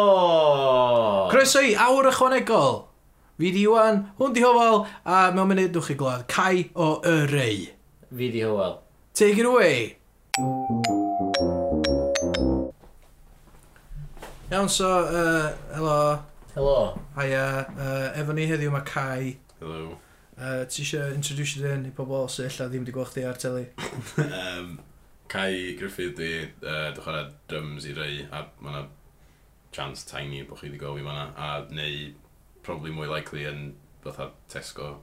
Helo! Croeso i awr ychwanegol. Fi di Iwan, hwn di Hofal, a mewn munud nwch chi glwad Cai o y Rei. Fi di Hywel. Take it away. Iawn, so, uh, helo, Helo. haia, uh, efo ni heddiw mae Cai. Hello. Uh, ti eisiau introduce dy hyn i pobl sy'n illa ddim wedi gweld chdi ar teli? um, Kai Griffith di, uh, dwi'n chwarae drums i rei, a mae yna chance tiny bod chi wedi gofio fanna, a neu probably mwy likely yn fatha Tesco.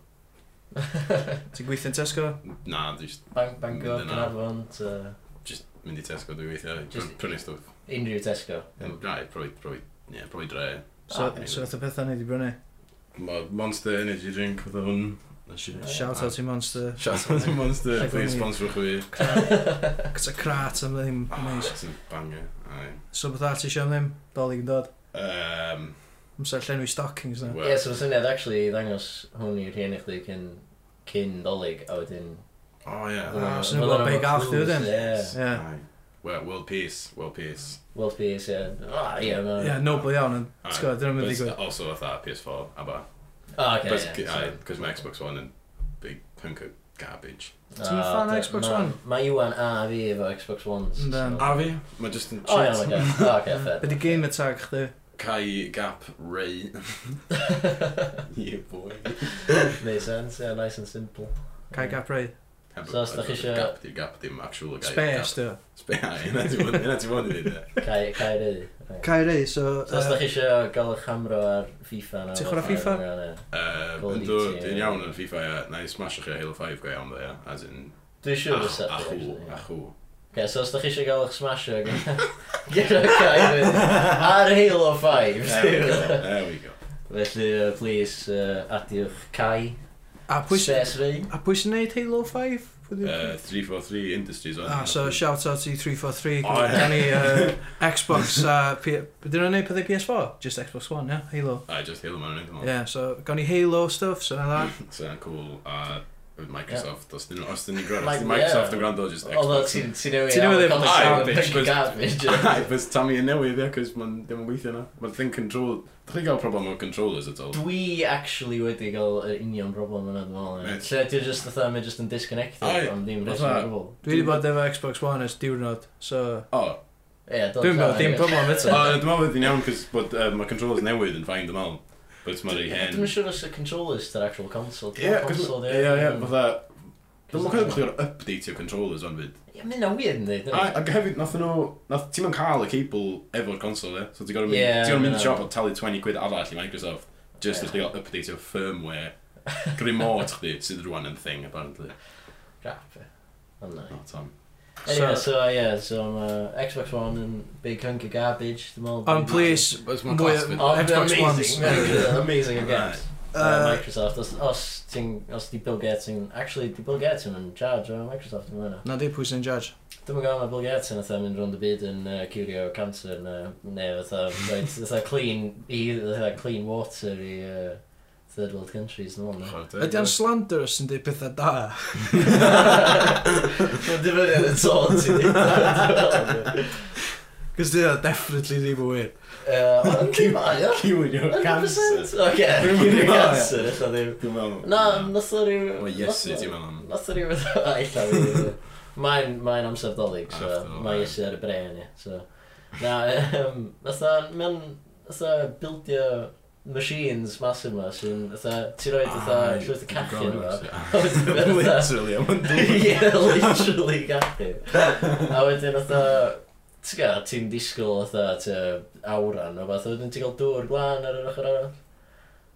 Ti'n gweithio'n Tesco? Na, dwi jyst Bang, Bangor, Dyna. Cynarfon, to jyst mynd i Tesco dwi weithio, Jyst- just... prynu stwff. unrhyw Tesco. Yym, Rai, probably, probably, yeah, probably dre. So, Ah, ah, maybe. so oedd y pethau ni wedi brynu. Ma- Monster Energy Drink, fatha hwn. Shout out i Monster. Shout out to Monster, Rhaid bod please ni- sponsor chwi. Cys y crat am ddim Ah, neis. sy'n banger, ai. So beth arall ti eisiau am ddim? Doli yn dod. Um, Amser llenwi stockings na. Ie, Wel. yeah, so fy syniad, actually, i ddangos hwn i'r hyn i chdi cyn, cyn dolyg, a wedyn... oh yeah. Ah, Wel, so nhw'n gwbod fel be' i gael chdi clues, wedyn. Ie, Ie. Aye. Well, world peace, world peace. World Peace, ie. Ah, ie, Ie, ma- yeah, noble iawn. yn- Aye. Ti'n gwybod, dyn nhw'n But mynd i it's gwyth. also fatha PS4, a ba. Ah, Because oce, ie. so- my Xbox One yn big hunk of garbage. Ti'n Ah, fan o d- Xbox ma- One? Mae Iwan a fi efo Xbox Ones. Yndan. so- A fi? Mae just yn O, iawn, shit. oce. Ah, oce, fair. Be di gamer tag chdi? Kai Gap Ray. yeah, boy. Made sense, yeah, nice and simple. Mm. Cai gap rai. So os dach chi isio- Gap di, gap dim actual guy. Space, dy. Space, aye. Yna ti fod- yna ti fod i ddweud e. Cai, cai rei. Cai rai, so... So os da chi eisiau gael eich hamro ar FIFA na... Ti'n chwarae fatha, FIFA? na, na. Yy, Call Yn duty, dod, ie. dwi'n iawn yn FIFA, ie. Na i smash chi Halo 5 go iawn, dda, ie. As in, Dwi'n Ah, siŵr ach- os da chi achw, actually. achw. Ok, so os da chi eisiau gael eich smasho gyda Kai fydd ar Halo 5. There we go, there we go. Felly, uh, please, uh, adiwch Kai. A pwy sy- Space fi. a pwy sy'n neud Halo 5? Pwy 'di- Yy, 343 Industries, o'n. Ah, so shout out i 343 O, ie. Gan ni uh, Xbox a P... Dyn nhw'n neud pethau PS4? Just Xbox One, ie? Halo Aye, just Halo man, o'n Mm. Ie, i'n yeah, so gawn ni Halo stuff, so na dda So yn cool. A with Microsoft, os dyn os dyn ni'n gwrando, Like, os dyn Microsoft yeah. yn gwrando, just Although Xbox. ti'n ti newid Ti newydd iawn, ddim- comic Ah, book bitch, yn but- garbage. Ai, bys tam i'n newydd, ie, cos ma'n ddim yn gweithio na. Mae'n thing control... Dach chi'n cael problem o'r controllers at all? Dwi actually wedi cael yr union broblem yna, dwi'n meddwl. ie. Mate. Lle dwi'n just fatha, mae'n just yn disconnected, Aye, ond ddim fatha- rheswm o gwbl. Dwi wedi bod efo Xbox One ers diwrnod So O, Ie, dylsa, dwi'n I meddwl, dim guess. problem o, Oh, eto dwi'n meddwl bod i'n iawn, cos bod yy, mae controllers newydd yn ffain, dwi'n meddwl. But mae'n rei hen. Dwi'n yn siŵr os y controllers dy'r actual console. Ie, Dyna'r cos... console, Ie, ie, fatha... Dwi'n meddwl bod chi'n updateio controllers o'n fyd. Ie, mynd na weird yn dweud. A ac hefyd, nath nhw... Nath ti'n ma'n cael y cable efo'r console, e? So ti'n gorau mynd... Ie, Ti'n gorau mynd no. i siop a talu 20 quid arall i Microsoft. Just Ie. yeah. gael update o firmware. Remote chdi, sydd rwan yn thing, apparently. Crap. Oh, no. Not Tom. Anyway, so, yeah, so mae Xbox One yn big hunk of garbage, dwi'n meddwl. Ond please, But it's my mwy class, Oh, Xbox amazing, Ones amazing, Amazing again. Uh, Uh, Microsoft, os, os, ti'n, os di Bill Gates yn, actually, di Bill Gates yn charge o Microsoft yn fyna. Na di pwy sy'n judge Dwi'n gwybod mae Bill Gates yn fatha mynd rownd y byd yn uh, curio cancer na, neu fatha, right, fatha clean, i, fatha clean water i uh, third world countries yn ymwneud. Ydy o'n slander os sy'n dweud pethau da Mae'n dibynnu ar y tôn ti'n dweud. Cos dwi o definitely ddim yn wir Ond di mae o. Cywyd yw'r 100%? cancer. Oce, Dwi'n cyn i meddwl, cancer, eitha ddim. Dwi'n meddwl... Na, nath o ryw... Wel, Iesu, ti'n meddwl am. Nath o ryw fatha, eitha ryw. Mae'n mae'n amser dolyg, so After all, mae ie. Iesu ar y bren, ie. So, na, yym, fatha, mae'n fatha bildio machines massive ma sy'n fatha, ti'n rhoi Ah, fatha llwyth o cachu yn yma. Literally, am yn dweud. Ie, literally gallu. A wedyn otha, ti'n gael, ti'n disgwyl otha, ti'n awran o beth, a wedyn ti'n cael dŵr glân ar yr ochr arall.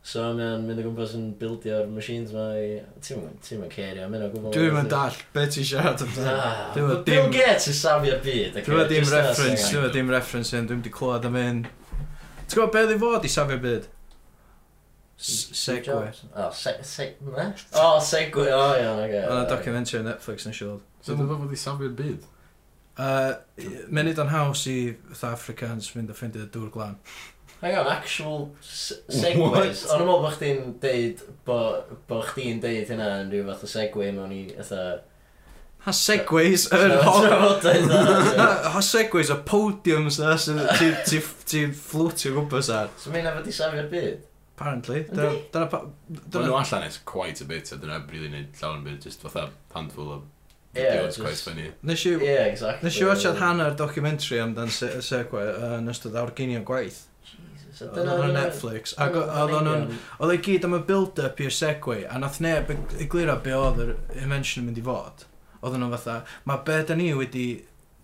So mae'n mynd o gwmpas yn bildio'r machines ma i... Ti'n mynd cerio, mynd o gwmpas... Dwi'n mynd dall, be ti'n siarad amdano Ah, Dwi'm yn- Bill dim- Gates yn safio byd. ocê, Dwi'n meddwl dim just that reference, thing. dwi'n meddwl dim reference hyn, dwi'n wedi clywed am hyn. Ti'n gwybod beth i fod i safio byd? S- Segwe. O, Oh, se- se- Oh, na? O, Segwe, o iawn, oce. Ond y documentary ar Netflix yn siŵr. So dwi'n meddwl bod i safio'r byd. Uh, Munud o'n haws i South Africans fynd a ffeindio dŵr glan. Hang on, actual se- What? segways. Ond yn meddwl bod chdi'n deud, bo, bo chdi'n deud hynna yn rhyw fath o segway mewn i, eitha, Ha segways yn hol. hol. Ha segways a podiums na sy'n ti'n ti, ti flwtio gwmpas ar. So mae'n efo di safio'r byd? Apparently. Dyna... Dyna... pa- Dyna nhw dyna- allan is quite a bit, a dyna really neud llawn bit, just fatha handful o Ie, videos just- quite funny. Nes i... Ie, exactly. Nes i watchad hanner documentary amdan se- y segway uh, yn ystod awr gynio'n gwaith. Jesus, a Oedd dyna- o'n ar dyna- Netflix. Ac o- oedd o'n... Ie. Oedd ei gyd am y build-up i'r segway, a nath neb eg- egluro be oedd yr invention yn mynd i fod. Oedd nhw fatha, mae be da ni wedi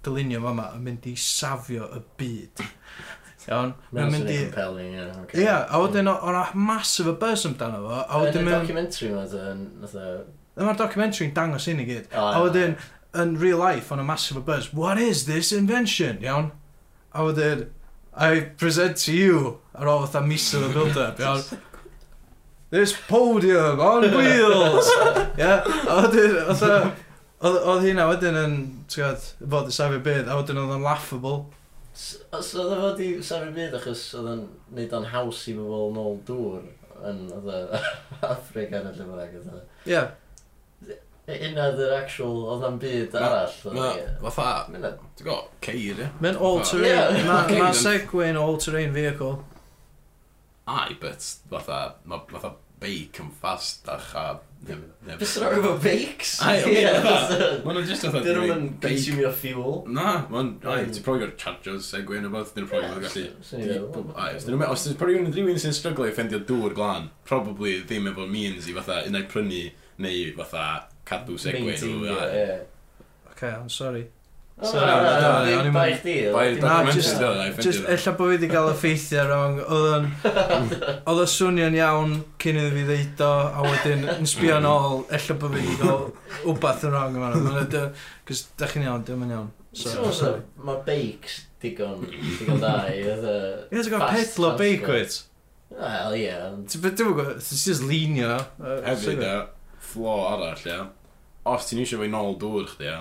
dylunio fama yn mynd i safio y byd. Iawn? Mae'n Mae'n mynd i... swnio'n compelling, ie. ocê. Ie, a wedyn o- o'na massive y buzz amdano fo, a Yn y wedyn mewn... documentary ma, dyn, fatha- Mae'r documentary'n dangos hyn i gyd. O, ie. A wedyn, yn real life, o'na massive y buzz, what is this invention? Iawn? A wedyn, I present to you, ar ôl fatha misoedd y build-up, iawn? This podium on wheels! yeah, a wedyn, fatha, oedd oedd hynna wedyn yn, ti'n gwybod, fod y safio byd, a wedyn oedd o'n laughable. S- Os oedd o fod i safio'r byd achos oedd o'n neud o'n haws i bobl nôl dŵr yn oedd o- Africa yn y llyfrag oedd o. Yeah. Unna oedd yr actual, oedd o'n byd Ma- arall. oedd Ma, o, ie. fatha, Mae hynna- ti'n go, ceir, ie? Mae'n Yeah. all-terrain, ma- Okay, ma' then. Segway'n all-terrain vehicle. Ai, but fatha, ma fatha beic yn fast a cha... neb- neb- Bys rhaid efo bakes? Ai, Ie, ie, fatha, Ma' nhw just fatha... Dyn nhw'n beic. consumio fuel. Na, ma'n... Ai, Mm. ti'n probably got chargers, segway yn y bydd, dyn nhw probably yn gallu... Swn i'n feddwl. Ai, os dyn nhw'n... Os dyn nhw'n rhywun sy'n stryglo i ffendio dŵr glan, probably ddim efo means i fatha unai prynu neu fatha cadw segway Maintain, nhw. ie, ai. ie. Okay, I'm sorry. O, Sorry, na, na, na, ddim o'n i'n- bai chdi, oedd o Bai dim Na, bai just- documentary, chdi. dyn nhw'n Just, ffendio. ella bod fi wedi cael effeithio wrong, oedd o'n... Oedd o swnio'n iawn cyn iddo fi ddeud o, a wedyn yn sbio yn ôl, ella bod fi wedi cael wbath yn wrong yma. Mae'n dy... Cys, da chi'n iawn, dim yn iawn. Ti'n meddwl So, sorry. fatha, Mae bakes digon, digon da i fatha- Ie, ti'n gael fast pedlo transport. backwit. Wel, ie, ond Ti'n byd, dim yn gwybod, ti'n just linio. uh, yy, Hefyd, sorry. ie, flo arall, ie. Os ti'n eisiau fe nôl dŵr chdi, ie.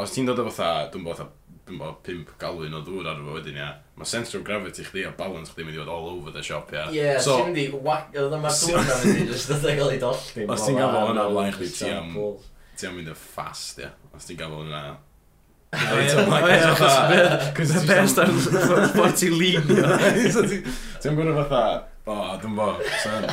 Os ti'n dod o fatha, dwi'n bod fatha, dwi'n bod pimp galwyn o dŵr ar efo wedyn, ie. Mae centre of gravity chdi a balance chdi mynd i fod all over the shop, ie. Ie, so, ti'n mynd i wac... Oedd yma dŵr na mynd i jyst oedd gael ei dolli. Os ma' ti'n gafel lan hwnna yn flaen chdi, just ti am- samples. ti'n mynd y fast, ie. Os ti'n gafel hwnna, ie. O ie, o ie, achos y best ar ffordd ti'n linio. Ti'n gwrdd fatha, o, dwi'n bo, son.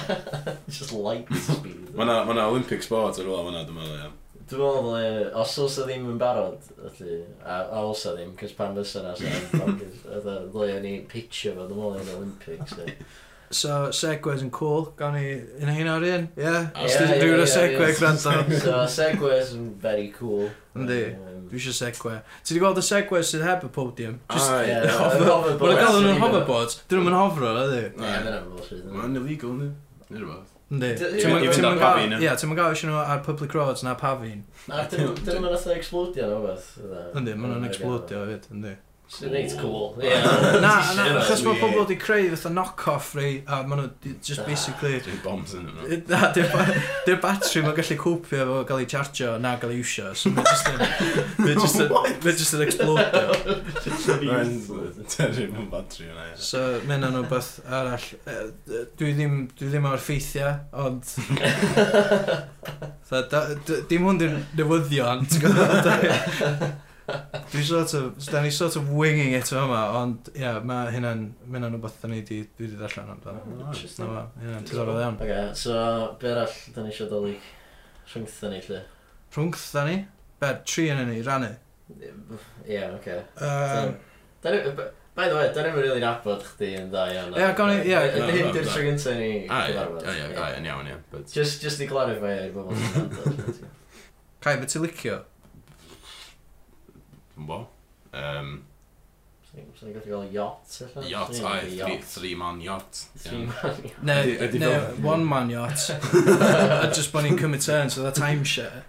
Just light speed. Dwi'n Mae'na ma Olympic sport ar ôl hwnna, dwi'n meddwl, ie. meddwl, e, os oes o ddim yn barod, ydy, a a oes o ddim, cys pan fysa na sy'n bonkers, oedd o ddwy o'n i pitcher fo, dwi'n meddwl yn Olympics. ie. So, segways yn cool, gawn ni un hyn ar un, ie? Os Ie, ti'n ie, rhywun o ie, segway ie. gwrando. So, segways yn very cool. Yndi. Um, Dwi eisiau segwe. Ti wedi gweld y segwe sydd heb y podium? Just... Ah, Ai, ie, ie. y hoverboard. Mae'n gael nhw'n hoverboards. Dyn nhw'n hofro, ydy? Ie, dyna fo, sydd yn- Mae'n illegal, ni. Nid rhywbeth. Ynddi. Dy- Ti'm yn- Even ti'm ar yn gael- pafin, ie. Ie, ti'n mynd gael eisiau nhw ar public roads na pafin. A dyn nhw'n meddwl explodio nhw beth. Ynddi, maen nhw'n explodio hefyd, ynddi. Sy'n reit cool. Cool. Oh, Ie. Na, Shit, na, achos mae weird. pobl wedi creu fatha knock-off rei, a maen nhw di- just Ah. basically... Dwi'n bombs yn yno. Na, di'r ba- di'r batri mae'n gallu cwpio efo gael ei chargio na gael ei iwsio, so mae'n just yn... Mae'n just yn- mae'n just yn explodio. Mae'n terrible battery yna, ie. So, mae'n yna rhywbeth arall. Yy, yy, Dwi ddim, dwi ddim o'r ffeithiau, ond Tha, da, d- dim hwn di'r newyddion, ti'n gwybod? Dwi sort of, da ni sort of winging it yma, ond ie, yeah, mae hynna'n, mae hynna'n rhywbeth da ni di, dwi di darllen amdano. Na Interesting. ma, hynna'n tydorol iawn. Oce, so, be arall da ni eisiau dolyg rhwngtha ni, lle? Rhwngth da ni, bed, tri yn ni, rannu. Ie, oce. Um, Da ni- b- By the way, da ni'n rili nabod chdi yn dda iawn. Ie, gawn ni- ie. Dy hyn di'r Na, tro gynta ni Ai, ai, gyfarfod. ai, ai, yn iawn, ie. but- Just, just i clarify i'r bobl sy'n gwrando. Cai, beth ti'n licio? Dwi'n bo. Um, Swn i'n gallu gael yacht, allan? yacht, ai, three- three man yacht. ie. Three man yacht. Ne, Ydi- ydi ne, fel- one man yacht. A just bod ni'n cymryd turns so that timeshare.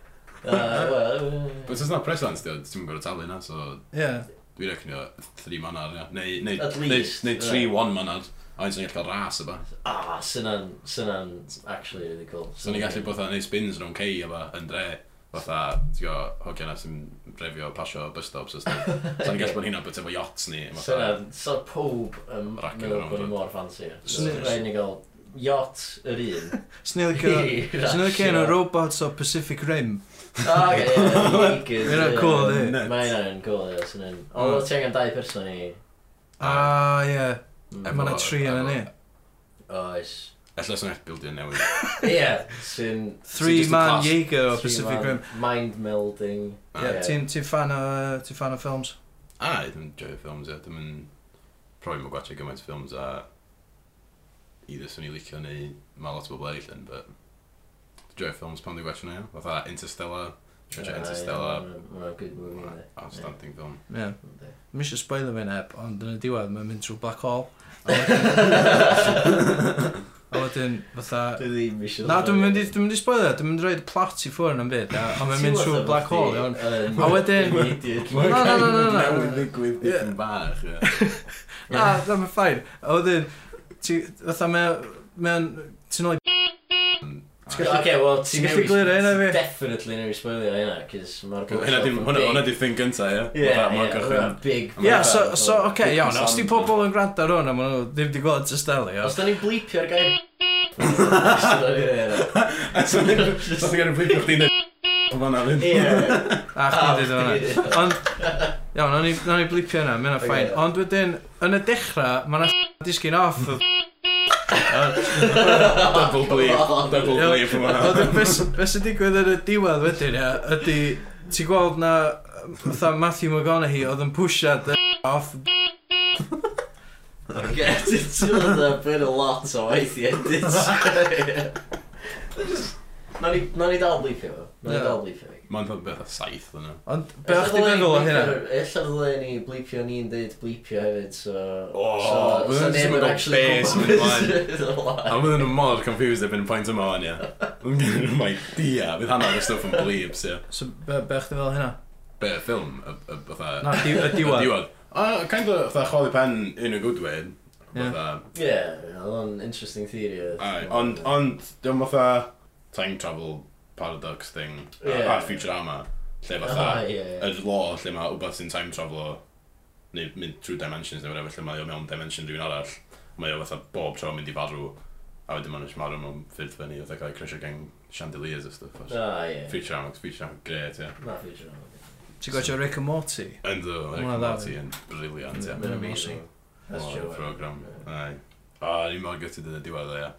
Ah, wel, But it's not present, dwi'n ddim yn gorau talu na, so Ie. Yeah. dwi'n rechnio three man ar, ie. Neu, neu, At neu, least, neu ie. three one man ar. A ni'n gallu cael ras yma. Ah, syna'n, syna'n actually really cool. So ni'n gallu bod neu spins rhwng cei yma yn dre. Fatha, ti'n go, hogia na sy'n brefio pasio bus stops o stuff. So ni'n gallu bod hynna beth efo yachts ni. fatha. Syna, so pob yn Racio meddwl around bod ni it. mor fancy. So Swn i- rhaid ni gael yacht yr un. Snilcio, I snilcio yn y rasio. robots o Pacific Rim. O, ie, ie, Eagles. Ma' hynna'n cool, yndi? Mae hynna'n cool, ie, sy'n hyn. Hmm. O, Mm. ti angen dau person i... Ah, ie. Mm. Mae yna tri yn ni. Oes. Alla sy'n eich bildio newydd. Ie, sy'n... Three just a Man class- Jaeger o three Pacific man Rim. Mind melding. Ah, Ie, ti'n ti'n fan o yy, ti'n fan o films? A, i ddim joio ffilms, ie. Dim yn... Probably mae'n gwachio gymaint o ffilms a... Either swn i licio neu mae lot o bobl eraill yn, but... Dwi'n joio ffilms pan dwi'n gwachio nhw, ie. Fatha Interstellar, Ah, Jojo ie, Interstellar, ma' hwnna'n- ma' hwnna'n good movie, ma' yndi? outstanding film. Ie. Yndi. Mi eisiau spoiler fe neb, ond yn y diwedd mae'n mynd trwy black hole. A wedyn, fatha... Dwi ddim eisiau... Na, dwi'n mynd i, dwi'n mynd i spoiler, dwi'n mynd i roed plot i ffwrdd yn e. byd, a- ond mae'n mynd trwy black hole, iawn. iawn. A wedyn- Immediately. Na, na, na, na, na. Newydd ddigwydd Ie. dipyn bach, ie. Na, Ah, na, mae'n ffain. A wedyn, ti, fatha, mae- mae'n, ti'n ôl i... Ti'n gallu- Oce, wel, ti'n ti'n gallu newis- glirio hynna fi? Definitely newid spoilio hynna, cys mae'r Hynna di, hwnna, hwnna di thing gynta, ie? Ie, Fatha, ma'n ie, gychwyn- hwnna'n big... Ie, Ie, big so, fan. so, oce, okay, iawn, os di Sam- pobl yn gwrando ar hwn, a maen nhw ddim di gweld Estelle, iawn. Os da ni'n blipio'r gair... Ie. So, Os ti'n gael yn blipio chdi'n dweud Fanna fynd A Ah, chdi dweud chdi hwnna. ddeud. Ond, iawn, o'n i- o'n i blipio hwnna, mae'n Ocê. ffain. Ond wedyn, yn y dechrau, mae'n disgyn off. o- Double bleep Double Iawn. bleep yn fanna Ond beth sy'n digwydd yn y diwedd wedyn, ia, ydy, ti'n gweld na, fatha Matthew McConaughey oedd yn pwysiad y off. Ie, ti'n teimlo da bit a lot o waith i edit. Na ni nawn ni dal blipio fo. Na ni Ie. dal blipio fo. Mae'n dod beth a saith yna Ond, be o'ch ti'n meddwl o hynna? Ella ddylai ni blipio ni'n deud blipio hefyd, so... O, so- wel, so jyst neb yn yn gweld actually be sy'n mynd gwbod ymlaen. beth sy'n mynd A ymlaen. fydden nhw'n mor confused erbyn y pwynt yma o'n ie Yn gynnu nhw'n like Dia, fydd hanner y stwff yn bleeps ie So, be o'ch ti'n meddwl o hynna? Be, y ffilm? Y- y- Fatha Na, di- y y diwedd. Diwedd A, kind of, fatha choli pen in a good way Ie. Fatha Ie, oedd o'n interesting theory. oedd. Ai, Ond, ond, dim fatha Time travel paradox thing Ie. A Futurama Lle fatha Ah, ie, ie. y law lle mae wbeth sy'n time travel o neu mynd trwy dimensions neu whatever, lle mae o mewn dimension rhywun arall mae o fatha bob tro yn mynd i farw a wedyn maen nhw'n marw mewn ffyrdd fyny oedd e ac o'i crysio gang chandeliers a stuff oes. Ah, ie. Future Amog, Future Amog, gret, ie. Na, future. Ti'n gwachio Rick and Morty? Yn ddo, Ma' Rick hwnna'n and dda, Morty yn briliant, ie. Mae'n amazing. That's Mor true. program. Ie. Ai. O, ni'n mor gytid yn y diwedd, o, ie.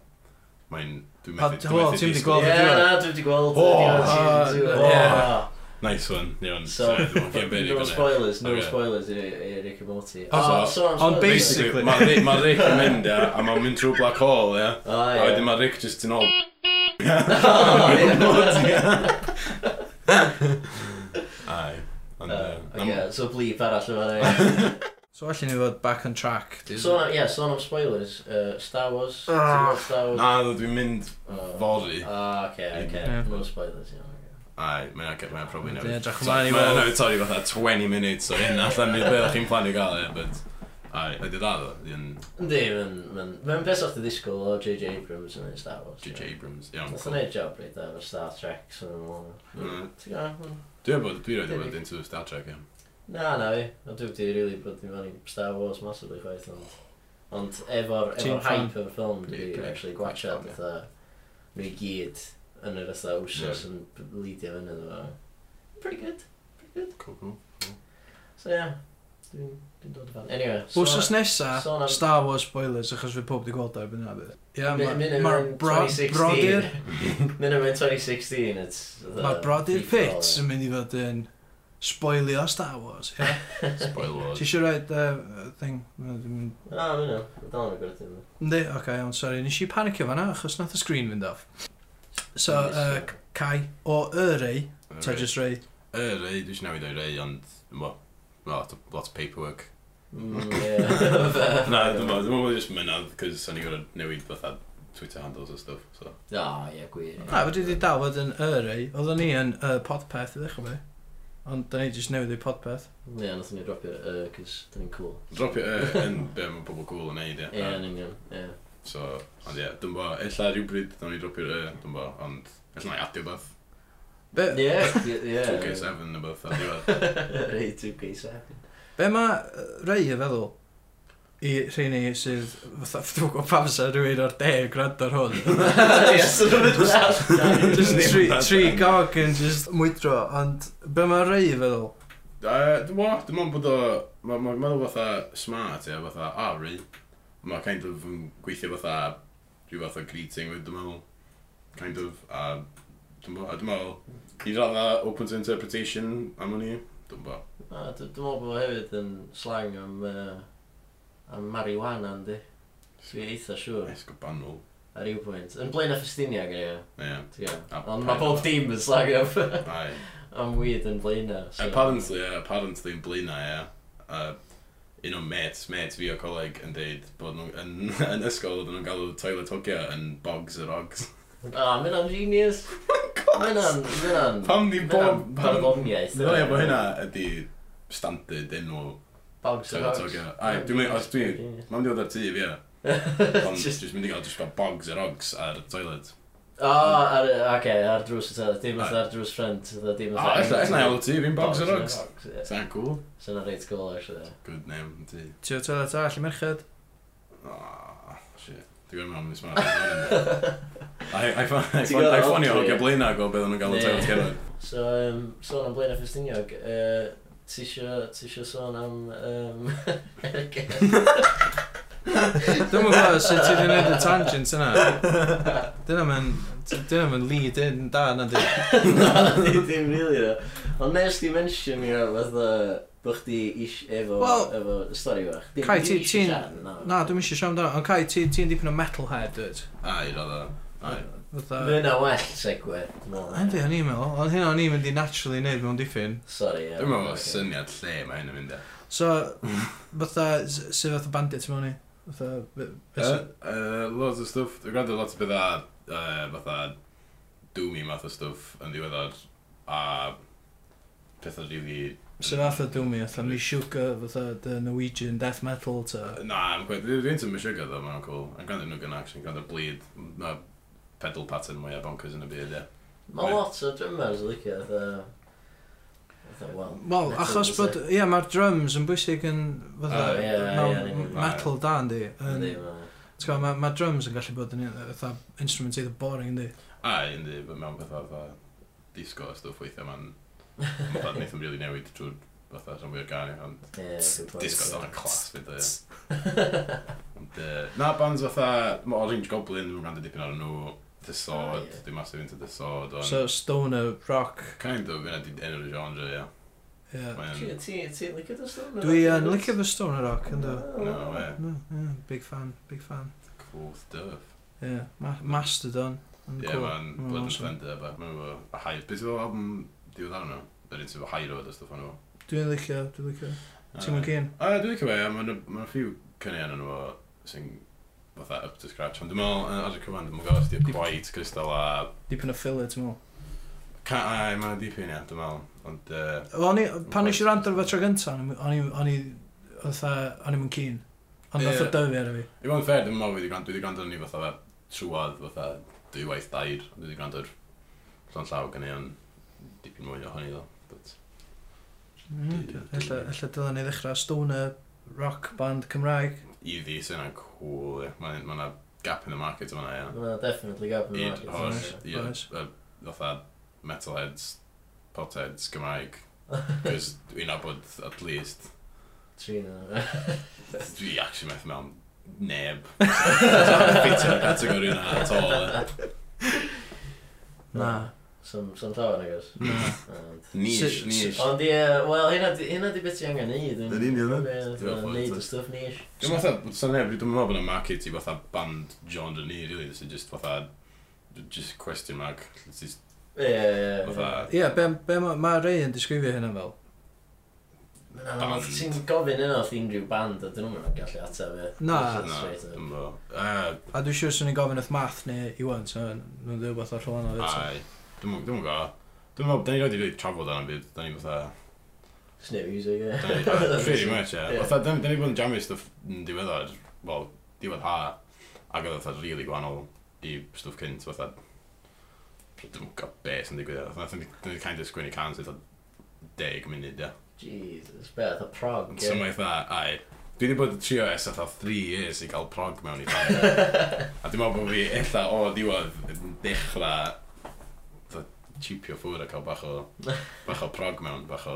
Mae'n... Dwi'n A, methu... wel, dwi'n methu ti'm 'di disgwyl- gweld- Ie, y diwedd. na, dwi wedi gweld O, y diwedd ah, season two. ie. O. Nice one, iawn. So, Sorry, dwi'n gen berig no yn spoilers, no Ocê. spoilers i i Rick and Morty. Oh, Ah, so- so am on spoilers. basic- Basically. Mae Rick- mae Rick yn mynd, ie, a mae'n mynd trwy black hole, ie. Ah, A wedyn ie. mae Rick just yn ôl Oh, ie. Ai. Ond, Uh, yy, Ocê, am- so bleep arall yma. ie. So, allan ni fod back on track. di- So, ie, sôn am spoilers. yy, Star Wars. Ti'n Ah. gweld Star Wars? Na, dwi- dwi'n mynd Oh. fory. Ah, oce, Ie. oce. No spoilers, iawn. ocê. Ai, mae'n ac mae'n probably Dwi'n newid. edrych So- ymlaen i Mae'n weld. newid torri fatha 20 minutes o hyn allan ni beth chi'n plannu gael e, but... Ai, ydy da ddo, yn Yndi, mae'n- mae'n mae'n beth o'ch ti ddisgwyl o J.J. Abrams yn neud Star Wars. J.J. Abrams, iawn. Nath o'n neud job reit da efo Star Trek, so yn ymlaen. Mm. Ti'n gwybod? Dwi'n bod, dwi'n rhaid i bod e into Star Trek, iawn. Na, na fi. A dwi wedi rili bod yn fan i Star Wars massively chwaith, ond... Ond efo'r efo Ti'n fan? hype o'r ffilm, dwi Ie, wedi dwi- actually dwi'n gwachad fan, ie. fatha... Nhw i gyd yn yr fatha wsos yn b- leidio fyny iddo fo. Pretty good. Cool, cool. So ie, dwi'n dwi'n dod o fan. Anyway, Wsos nesa, sôn am- Star Wars spoilers, achos fi pob di gweld ar hynna bydd. Ie, Mi- mi- mi- mae'r mi- brodyr, 2016. Mynd am yn 2016, it's... the- mae'r brodyr free for all, Pitts ie. yn mynd i fod yn spoilio Star Wars. ie. Spoil Ti word. eisiau rhaid uh, thing? Na, dwi'm- Na, mynd am. Ah, Dal yn y gwrdd ddim. Yndi, oce, okay, iawn, sori. Nes i panicio fanna, achos nath y sgrin fynd off. So, Yes, uh, ie. Kai, o y rei, ta Y just rei. rei, dwi'n newid o'i rei, ond... Mo, well, lot of- lot of paperwork. Mm, ie. Na, dwi'n bod, dwi'n bod just mynydd, cos o'n i gorau newid fatha Twitter handles a stuff, so... Na, ie, Ah, gwir. ie. Na, fyddi di dal fod yn y rei. Oedden ni yn uh, podpeth i ddechrau fi. Ond da ni jyst newid i podpeth. Ie, nath ni dropio, yy, cos dyn ni'n cool. Drop it uh, yn be mae pobl cool yn neud, ie. Ie, yn union, ie. So, ond ie, dwi'n bo, illa rhywbryd, dwi'n ni dropio'r e, dwi'n bo, ond illa na i adio beth, Be, Ie, ie. 2K7 neu beth, a diwedd. Rei 2K7. be mae rei y feddwl? i rheini sydd fatha ffdwg o pam sa rhywun o'r de gwrando ar hwn Yes, yn y dweud. just Ddim tri, fatha. tri gog yn just mwydro ond be mae rei i feddwl Uh, Dwi'n meddwl, dwi'n meddwl bod o, mae'n ma, meddwl fatha smart, ia, fatha Ari. Mae kind of yn gweithio fatha, rhyw fath o greeting, dwi'n meddwl, kind of, a dwi'n meddwl, a dwi'n meddwl, i radda open to interpretation am hynny, dwi'n meddwl. Na, d- Dwi'n meddwl bod o hefyd yn slang am, uh, am marijuana, yndi. Dwi eitha siŵr, Esgo banol. ar yw pwynt. Yn blaen a festinia gen Ie, i, A- Ond mae bob dim yn slang am, ai. am weed yn blaen a. so- Apparently, yeah, apparently yn Blina, ie. Uh, un o'n mates, mates fi o coleg yn deud bod nhw yn, yn ysgol oedden nhw'n galw toilet hogia yn bogs yr ogs. A, mynd am genius. Mynd am, mynd am. Oh Pam di bob... Pam Barddoniaeth. Dwi'n meddwl bod hynna ydi standard enw Bogs yn toilet hogia. Ai, dwi'n meddwl, os dwi... Mae'n dod ar tŷ fi, ie. Ond Just- jyst mynd i gael, jyst gael bogs yr ogs ar toilet. O, Ah, ar, oce, ar drws y toilet, dim Ai. fatha ar drws ffrant, fatha dim O, fatha... Ah, ella ella i tŷ fi'n bogs yr yn y ogs. bogs, ie. Sa'n cool. Sa'n a reit cool, actually. Good name, yn tŷ. ti o toilet all i merched Ah, shit. Dwi'n gwybod mewn mis ma. I I I Ti'n gwbod, ffonio o ie. geblaen ag o beth o'n gael y Ie. toilet gerwyd. So, um, sôn am blaen a ffestiniog, uh, ti isio ti isio sôn am... Um, Dwi'n mwyn gwybod sut ti wedi gwneud y tangent yna. Dyna ma'n... Dyna ma'n lead in da na di. Na, di- dim rili o. Ond nes di mention i o, fatha, bo chdi ish efo, Wel, efo stori fach. Dim- Cai, dim ti- isio ti'n- siarad, na. Na, dwi'n eisiau siarad amdano. Ond Cai, ti- ti'n dipyn o metalhead, dweud. Ai, rodda. Ai. Mae Fatha... hynna well segwe. dwi'n meddwl. Yndi, o'n i'n meddwl. Ond hynna o'n i'n mynd i naturally neud mewn diffyn. Sori, ie. Dwi'n Ocê. meddwl bod syniad lle mae hyn yn mynd e. So, fatha... s- Sut fath o bandit mewn i? Fatha... be- be- Yy, yy, Loads o stwff. Dwi'n gwrando lot o beth a yy, fatha doomy math o stwff yn ddiweddar a pethau rili... Sut fath o dwmi? Fatha Mishuga, fatha the Norwegian death metal, ta. Na, I'm quite- dwi- dwi'n tyn mysig oedd o, mae'n cool. Yn gwrando nhw gan action, gwrando bleed. Mae pedal pattern mwyaf bonkers yn y byd, ie. Mae lot o drummers yn licio, fatha... fatha, Wel, Wel, metal achos music. bod... Ie, mae'r drums yn bwysig yn... Fatha... O, ie, ie, mewn ie, ie. Metal da, yndi. Yn- Yndi, ma'. T'w gwbod, mae ma drums yn gallu bod yn un- fatha instrument eitha boring, yndi? A, yndi, but mewn pethau fatha disco a stwff weithiau ma'n fatha wneud yn rili newid trwy'r fatha rhan fwy o'r gani, ond Ie, good point. disco dan y clas fyd o, ie. Ond, yy, Na, bands fatha, mae Orange Goblin, dwi'n gwrando dipyn ar nhw, The Ah, Sword, ie. dwi'n masif into The Sword, ond So, stoner, rock, kind of, yna di enw'r genre, ie. ie. Ti- Mae'n, Ti ti'n licio dy stwff? Dwi yn licio fy stoner rock, ynddo? no, ie, No, ie, big fan, big fan. cool stuff. Ie, ma Mastodon. yn Ie, cool. mae'n Ma' Blood and awesome. Thunder, but mae'n efo a high, beth yw'r album diwedd arno? Yr un sy'n efo high road a stwff arno. Dwi'n licio, dwi'n licio. fo. Ti'n Yy, mynd gyn? A dwi'n licio fe, a mae'n ma ffiw cynion yn efo sy'n fatha up to scratch. Ond dwi'n meddwl, yy, ar y cyfan, dwi'n meddwl os di'r Dip- gwaith crystal a... Dipyn o filler, ti'n meddwl? Ca- Ai, mae'n dipyn ia, dwi'n meddwl. Ond, yy, Wel, o'n i, pan nes i rando fe tro gynta, o'n i- o'n i, o'n i, fatha, o'n i'n keen. Ond Ie. nath o dyfu ar y fi. i fod yn fair, dwi'n meddwl fi 'di gwrando- dwi wedi gwrando ni fatha fe trwad fatha dwywaith dair. Dwi wedi gwrando'r llon llaw gan i o'n dipyn mwy o hynny ddo. But, Mm, Ella ella dylen ni ddechrau stoner rock band Cymraeg. i ddi, sy'n yna'n cool. ie. Mae ma 'na gap in the market yma, ia. Mae definitely gap yn y Un market. hos, ie. ie, Oes. y- fatha metalheads, potheads, Gymraeg. Cos dwi'n abod, at least, Tri na. dwi actually methu mewn neb. Ffitio'r categori yna at all. eh. Na. Some some llawer nag oes. Na. Ond- Niche, Sy- niche. Ond ie, wel, hynna di- hynna di beth ti angen neud. Yn union, ie. Dwi'n meddwl, Neud t'o'. y stwff nish. Dwi'n meddwl, sa'n neb, dwi'n meddwl bod yna market i fatha band genre ni, really, sy'n just fatha, just question mark. It's just Ie, ie, ie. fatha, Ie, yeah, be, be mae ma rei yn disgrifio hynna fel? Na, na, Band. Ti'n gofyn yna wrth unrhyw band a dyn nhw'n gallu ateb e. Na. na, Straight up. dwi'n meddwl. Eh, A dwi'n siŵr swn i'n gofyn wrth math neu Iwan, so nhw'n dweud beth o'r rhan o Ai, dwi'n meddwl, dwi'n meddwl, dwi'n meddwl, da ni wedi rili trafod ar y byd, da ni fatha, Snip music, ie. Pretty much, ie. Ie. Fatha, da ni bod yn jamu stwff yn diweddar, wel, diwedd ha, ac oedd fatha rili gwahanol i stwff cynt, fatha, dwi'n gwybod beth yn digwydd, fatha, da ni'n kind of sgwini cans eitha deg munud, ie. Jesus, be, the prog, Ond sy'n ie. mae fatha, ai, Dwi wedi bod yn trio es atho 3 years i gael prog mewn i fan. a dwi'n meddwl bod fi eitha o diwedd yn dechrau fatha cheapio ffwr a cael bach o, bach o prog mewn, bach o...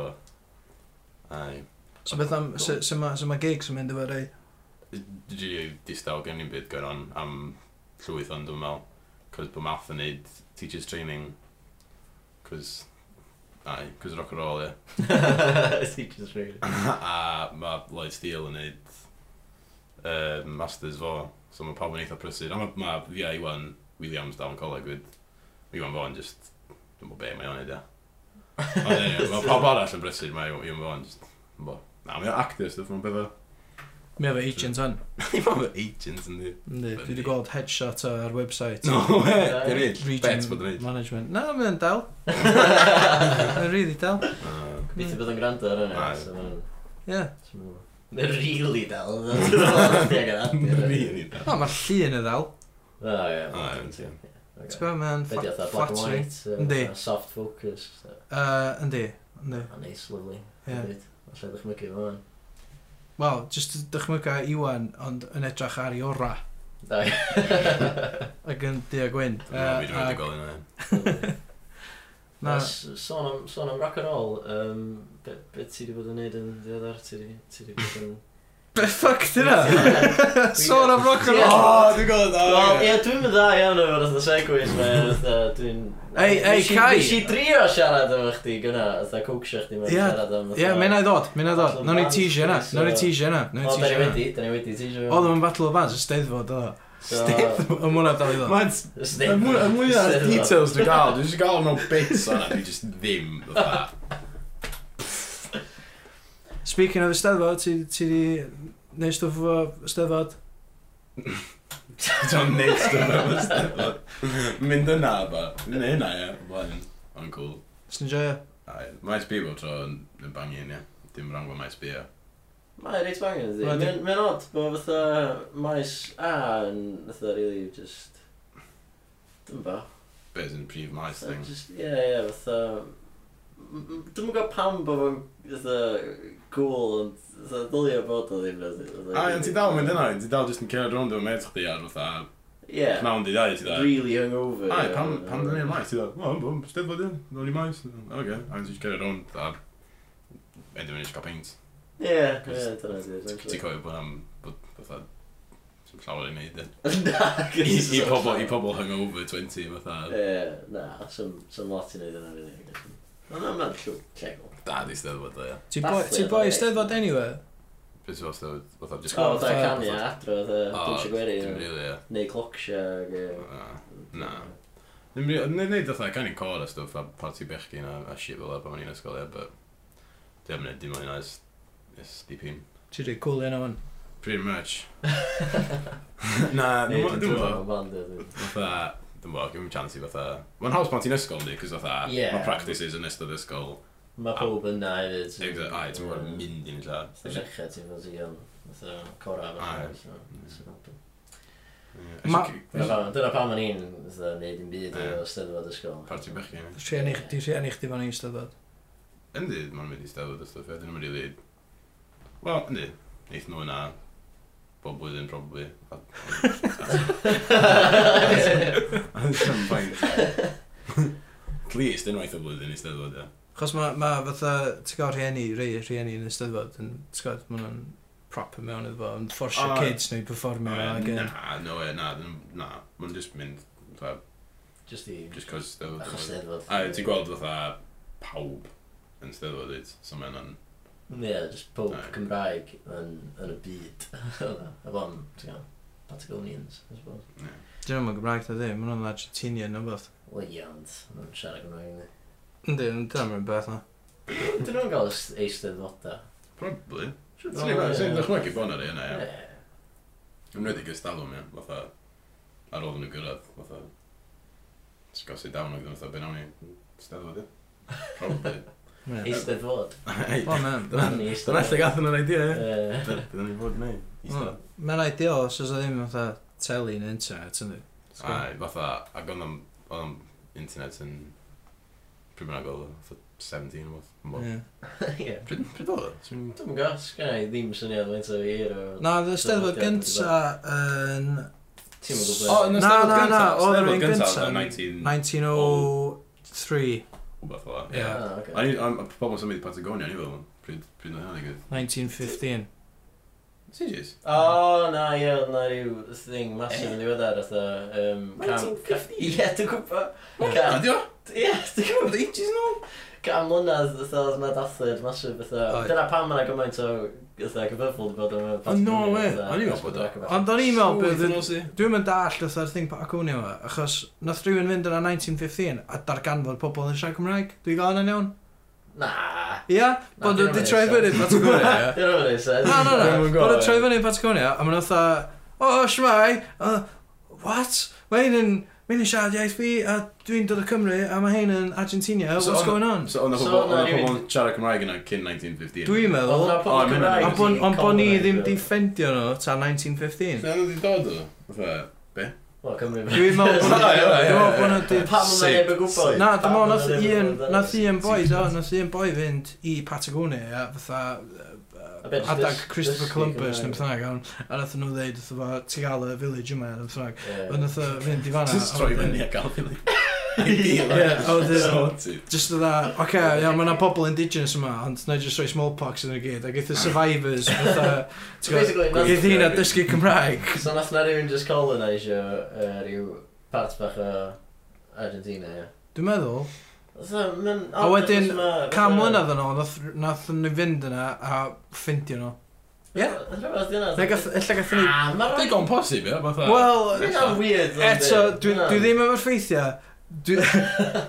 Ai, So beth am, sy- sy'n ma, sy ma gigs yn mynd efo rei? Dwi'n distaw gen i'n byd gyr on am llwyth ond dwi'n meddwl. Cos bod math yn neud teachers training. Cos... Ai, cos rock and roll, ie. Teacher's really. a mae Lloyd Steele yn neud uh, Masters fo. So mae pawb yn eitha prysur. A mae ma, fi a Iwan Williams dal yn coleg wyd. Iwan fo'n just... Dwi'n bod be mae o'n neud, ie. Ond anyway, mae pawb arall yn brysur, mae Iwan fo'n just... dwi'm bo. Na, mae'n actor stuff, mae'n beth o... Mi efo agent hyn. Mae'n agents yn di. Yndi, dwi wedi gweld headshot ar website. No, we, dwi'n neud. Bet bod Region yn neud. Management. Na, mae'n dal. Mae'n really dal. Fi ti bod yn gwrando ar hynny. Aye. so ma'n- Ie. so ma'n- Mae'n really dal. Really? Really? No, mae'r llun yn dal. O, ie. O, ie, Ti'n Ti'n gwybod, mae'n uh, Be di ffa- oedd black and flattering. white? so Yndi. fatha Soft focus. so. Yy, Yndi, yndi. A nice, lovely. Ie. Hefyd. Alla ddychmygu fo fan. Wel, jyst dychmyga Iwan, ond yn edrych ar i ora. Da. Ac yn di a gwyn. Na, fi dwi'n gweld yna. Na. Na. Sôn am, sôn am rock and roll, um, be, be ti wedi bod yn neud yn ddiweddar? Ti wedi ti wedi bod yn... Be ffuck di na? Sôn am rock and roll! dwi'n gweld Wel, ie, dwi'n mynd dda iawn o'r fatha segwys me, fatha, dwi'n... Ei, ei, Nes i- Kai! Nes i drio siarad efo chdi gynna, fatha cwcsio chdi mewn Ie, siarad am... Ie, mae'n ei ddod, mae'n ei ddod. Nawr ni teasio yna, nawr ni teasio yna, nawr O, ni da ni teasio yna. wedi, da ni wedi, ti eisiau... Oedd o'n Battle of Bands, ysteddfod o. Y mwna dal i ddod. Mae'n... Y mwy y mwy o details dwi'n gael, dwi'n just gael mewn bits o'na, dwi just ddim, fatha. Speaking of ysteddfod, ti ti di neud stwff o ysteddfod? Dwi'n neud stuff am ystafell. Mynd yna, ba. Mynd yna, ie. Mae'n... Mae'n cool. S'n joio? Mae SB bob tro yn yn bangin, ie. Dim rhan fo mae SB, ie. Mae'n reit bangen, ydy. Wel, di- Mae'n- Mae'n od, bod fatha maes a yn fatha really just... Dwi'n ba. Beth yn prif maes Fatha thing. Just, ie, ie, fatha... m- m- Dwi'm yn gwybod pam bod fo'n fatha gwl, ond fatha dylio bod o ddim. felly, fatha- A, ond ti dal yn mynd yna, ti dal just yn cerdd rownd o'n met chdi ar fatha... Ie, Pnawn di dau, ti dal. really hungover. Ai, ie, pam, fatha. pam dyn ni'n maes? Ti'n dweud, o, bwm, stedd fod yn, dyn ni'n maes. Oge, a ti'n gyrra rownd a edrych yn eich cael peint. Ie, ie, Cos- dyna di. Ti'n cofio bod am, bod, fatha, sy'n llawer i'n neud. e. Na, I i pobol, i pobl. pobol hungover 20, fatha, Ie, na, sy'n lot i wneud yna, really. Ond yma'n llw, llego. da di stedd fod o, ia. Ti boi- ti boi ysteddfod anyway? Beth sy'n fawr fatha, just... O, da fatha- canu a adro, da, O, dwnsio gweri. Dim ie. rili, ia. Neu clocsia, ag... ie. Na, Na. Dim rili, nid neud fatha, can i'n cor a stwff a party bechgyn a a shit fel e, pan o'n i'n ysgol, ia, but... Dim yn neud dim o'n i'n oes, is dipyn. Ti di cool yna hwn. Pretty much. Na, Neu dwi'n dwi'n meddwl. dwi'n band, ie. Fatha, dwi'n bo, gymryd chance i fatha... Mae'n haws pan ti'n ysgol, ynddi, cos fatha, Ie. mae practices yn ystod ysgol. Mae pob yna hefyd. so- Exa- Ai, ti'n bod yn mynd i'n Fatha lla. llecha ti'n fod i am fatha cora Aye. Mm. Dyna Ma- pam- dyna pam o'n i'n fatha neud yn byd Ie. o steddfod ysgol Parti bechgyn. ie. Tri enni chdi, tri enni chdi fan i ysteddfod. Yndi, mae'n mynd i steddfod y stwff, ie, dyn nhw'n rili... Wel, yndi, neith nhw yna bob blwyddyn, probably. A- A ddim faint. At least, unwaith o blwyddyn i steddfod, ie. Chos mae ma fatha, ti'n gael rhieni, rei rhieni yn ysteddfod, yn, ti'n gael, mae nhw'n proper mewn iddo fo, yn fforsio O, kids neu performio Na, ag e. yn... no, ie, na, dyn nhw- na. Mae'n just mynd, fatha, Just i just cos steddfod. achos steddfod A ti'n gweld fatha pawb yn steddfod it, so mae'n yn... Ie, just pob Aye. Cymraeg yn yn y byd Efo am, ti'n gael, Patagonians I suppose. Dyn nhw'n Gymraeg na ddim, mae nhw'n Argentinian o beth. Wel ie, ond ma' nhw'n siarad Gymraeg ni Yndi, dyna mae'n beth na. Dyn nhw'n gael est- eisteddfoda Probably. Siwr Swn bod nhw, ie. i'n dychmygu bod yna yna, ie. Ie. Yn rhedeg ystalwm, ie. Fatha, ar ôl nhw gyrraedd, fatha... Sgosi dawn oedd yn fatha, ben awn i steddfod, ie. Probably. Eisteddfod Ei, O, man. Ni Dyna eisteddfod. dyna lle gath yna'n idea, ie. Ie. Dyna ni fod gwneud. Hmm. Easter. Mae'n ideal os oes o ddim fatha teli yn internet, yndi. Ai, fatha, ac oedd am internet yn Pryd mae'n agol, fatha 17 o beth. Ie. Ie. Pryd pryd oedd o? Swn i'n- Dwi'n gwybod, sgan i ddim syniad faint o fi o... Na, oedd y steddfod gynta yn Ti'n mynd O, gwybod? Na, yn y Steddfod na, na, oedd gynta, yr Steddfod un gynta gynta oh oedd yn yn 19... 1903. Wbeth fel Ie. la. Ah, oce. O'n i'n pobl symud i Patagonia, ni fel. Pryd pryd oedd hynny gyd. 1915. Serious? O, na, ie, oedd na rhyw thing masif yn ddiweddar, oedd um, cam... 1950? Ie, dwi'n gwybod. Na, Cam... di o? Ie, dwi'n gwybod. Oedd ages yn ôl? Cam mlynedd, oedd oedd na dathod masif, oedd... Oedd. Dyna pam yna gymaint o... Oedd gyfyfwl wedi bod yn... O, no way. O'n i'n meddwl bod o. Ond o'n i'n meddwl Swydd yn bydd... ôl sy. Dwi'n mynd all oedd yr thing Patagonia yma, achos nath rhywun fynd yna 1915 a darganfod pobl yn siarad Cymraeg. Dwi'n gael yna'n iawn? Na. Ia? Bod dwi'n wedi meddwl so. troi fyny Patagonia, ia? Dwi'n rhywbeth neis. Na, na, na. Dwi'm yn e. gwbod, Bod yn troi ie. fyny yn Patagonia, a ma'n otha, o, oh, shmai, uh, what? Mae hyn yn, mae hyn yn siarad iaith fi, a dwi'n dod o Cymru, a mae hyn yn Argentina, So what's o'n- going on? So oedd 'na So pobl- oedd oedd 'na na pobl rywun- yn siarad Cymraeg yna cyn 1915. Dwi'n meddwl, Oedd na O, pobl mae'n Cymraeg rhaid. ond bod- wedi ond bod ni colonise ddim fo. defendio nhw ta 1915. Lle nhw wedi dod o? Fatha, be? Wel, Cymru. Dwi'n meddwl bod- O, ie, ie, ie, dwi'n meddwl ie. bod nhw di- Pam yna Sick, neb yn gwybod? Na, dim ond nath un, nath un boi, do, nath un boi fynd i Patagonia, ia, fatha, A be, yy, jyst adag dys- Christopher dysgu Columbus, neu Cymraeg. beth bynnag, iawn. a nath nhw ddeud, fatha, ti gael y village yma, neu beth bynnag. Ond nath o fynd i fanna. Just a troi wedyn- fyny a gael ffili. Ie, a wedyn, Sorted. Just o dda, oce, okay, iawn, mae yna pobl indigenous yma, ond na i just roi smallpox yn y gyd, ac eith y survivors, fatha, So basically, nath- eith hynna dysgu Cymraeg. So nath na rhywun just colonisio yy, ryw part bach o Argentina, ie. Dwi'n meddwl, So, ma'n- A wedyn, jyst ma- cam fatha- mlynedd yn ôl, nath, nath nhw fynd yna a ffindio nhw. Ie. Rhyfedd yna. Neu gath, illa gath ni... Ah, ma'n rhaid. Digon posib, ie? Fatha... Wel, Mae'n weird. ond, eto, ie. dwi dwi ddim efo'r ffeithiau. Dwi-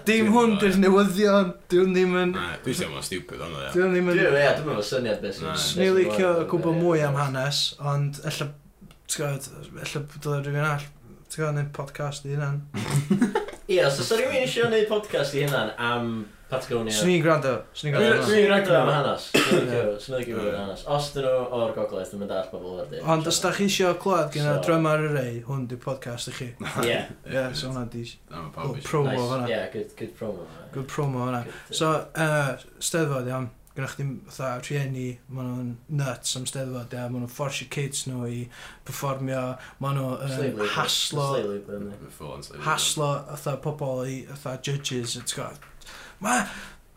Dim hwn, dwi'n newyddion, dwi'n ddim yn... Na, Dwi'n teimlo'n stupid ond o, ie. Dwi'n ddim Dwi- yn... ie, Dwi'm efo syniad beth sy'n... Na. Swn i'n licio gwybod mwy am hanes, ond ella, ti'n gwybod, ella dylai rhywun all, ti'n gwybod, neu podcast i hynna'n. Ie, so sa rhywun eisiau gwneud podcast i hynna'n am Patagonia. Swn i'n gwrando, swn i'n Dwi'n gwrando. dwi'n rhaid am hanes. Dwi'n licio gwybod hanes. Os dyn nhw o'r gogledd, dwi'n mynd all bobl o'r dyn. Ond os da chi eisiau clywed gyda So- drummer y rei, hwn di podcast i chi. Ie, Ie, yeah, so Oh, hwnna di Dyma pawb little eisiau. promo nice. hwnna. Ie, good, good promo. Good promo hwnna. So, uh, steddfod iawn, gyda chdi fatha rhieni, maen nhw'n nuts am steddfod, ia, maen nhw'n fforsio kids nhw i performio, maen nhw'n um, haslo, Full on slavery. haslo fatha pobol i fatha judges, ti'n gwybod, ma,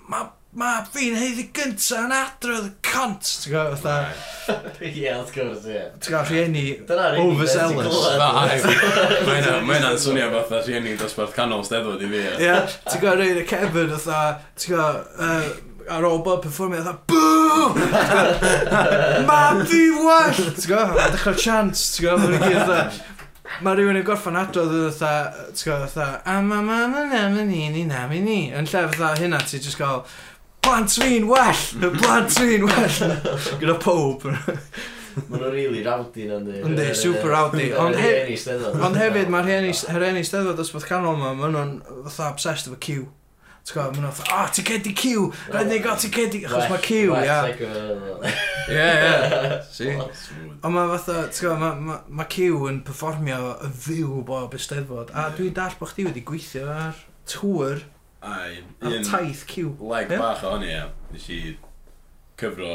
ma, ma fi'n heiddi gynta yn adrodd y cont, ti'n gwybod, fatha, Right. Ie, wrth gwrs, ie. ti'n gwybod, rhieni, Dyna'r unig beth ti'n Overzealous. glywed. Na, ai. Mae hynna- mae hynna'n swnio fatha rhieni dosbarth canol steddfod i fi, ie. Ie, ti'n gwybod rhaid y Kevin fatha, ti'n gwybod, uh, ar ôl bod performio fatha, bŵ! Ma fi well! Ti'n gwybod, a dechrau chant, ti'n gwybod, mae'n gyd fatha. Mae rhywun yn gorffan adrodd yn fatha, ti'n gwybod, fatha, a ma ma ma na ma ni ni na mi ni. Yn lle fatha hynna, ti'n just gael, plant fi'n well! Y plant fi'n well! Gyda pob. Maen nhw'n really rowdy na'n dweud. Yndi, super rowdy. Ond hef- Ond hefyd, mae'r rhieni, yr rhieni steddfod ysbyth canol yma, maen nhw'n fatha obsessed efo Q. Ti'n gwybod, maen nhw'n fatha, ah, ticedi Q! Rhaid ni gael ticedi, achos mae Q, ia. Ie, ie. See? Smooth. Ond mae fatha, ti'n gwybod, mae ma, ma Q yn performio y fyw bob ysteddfod, a dwi'n dall bod chdi wedi gweithio ar tŵr, Ai, ar un taith Q. leg Ie? bach o'n ie. Nes i cyfro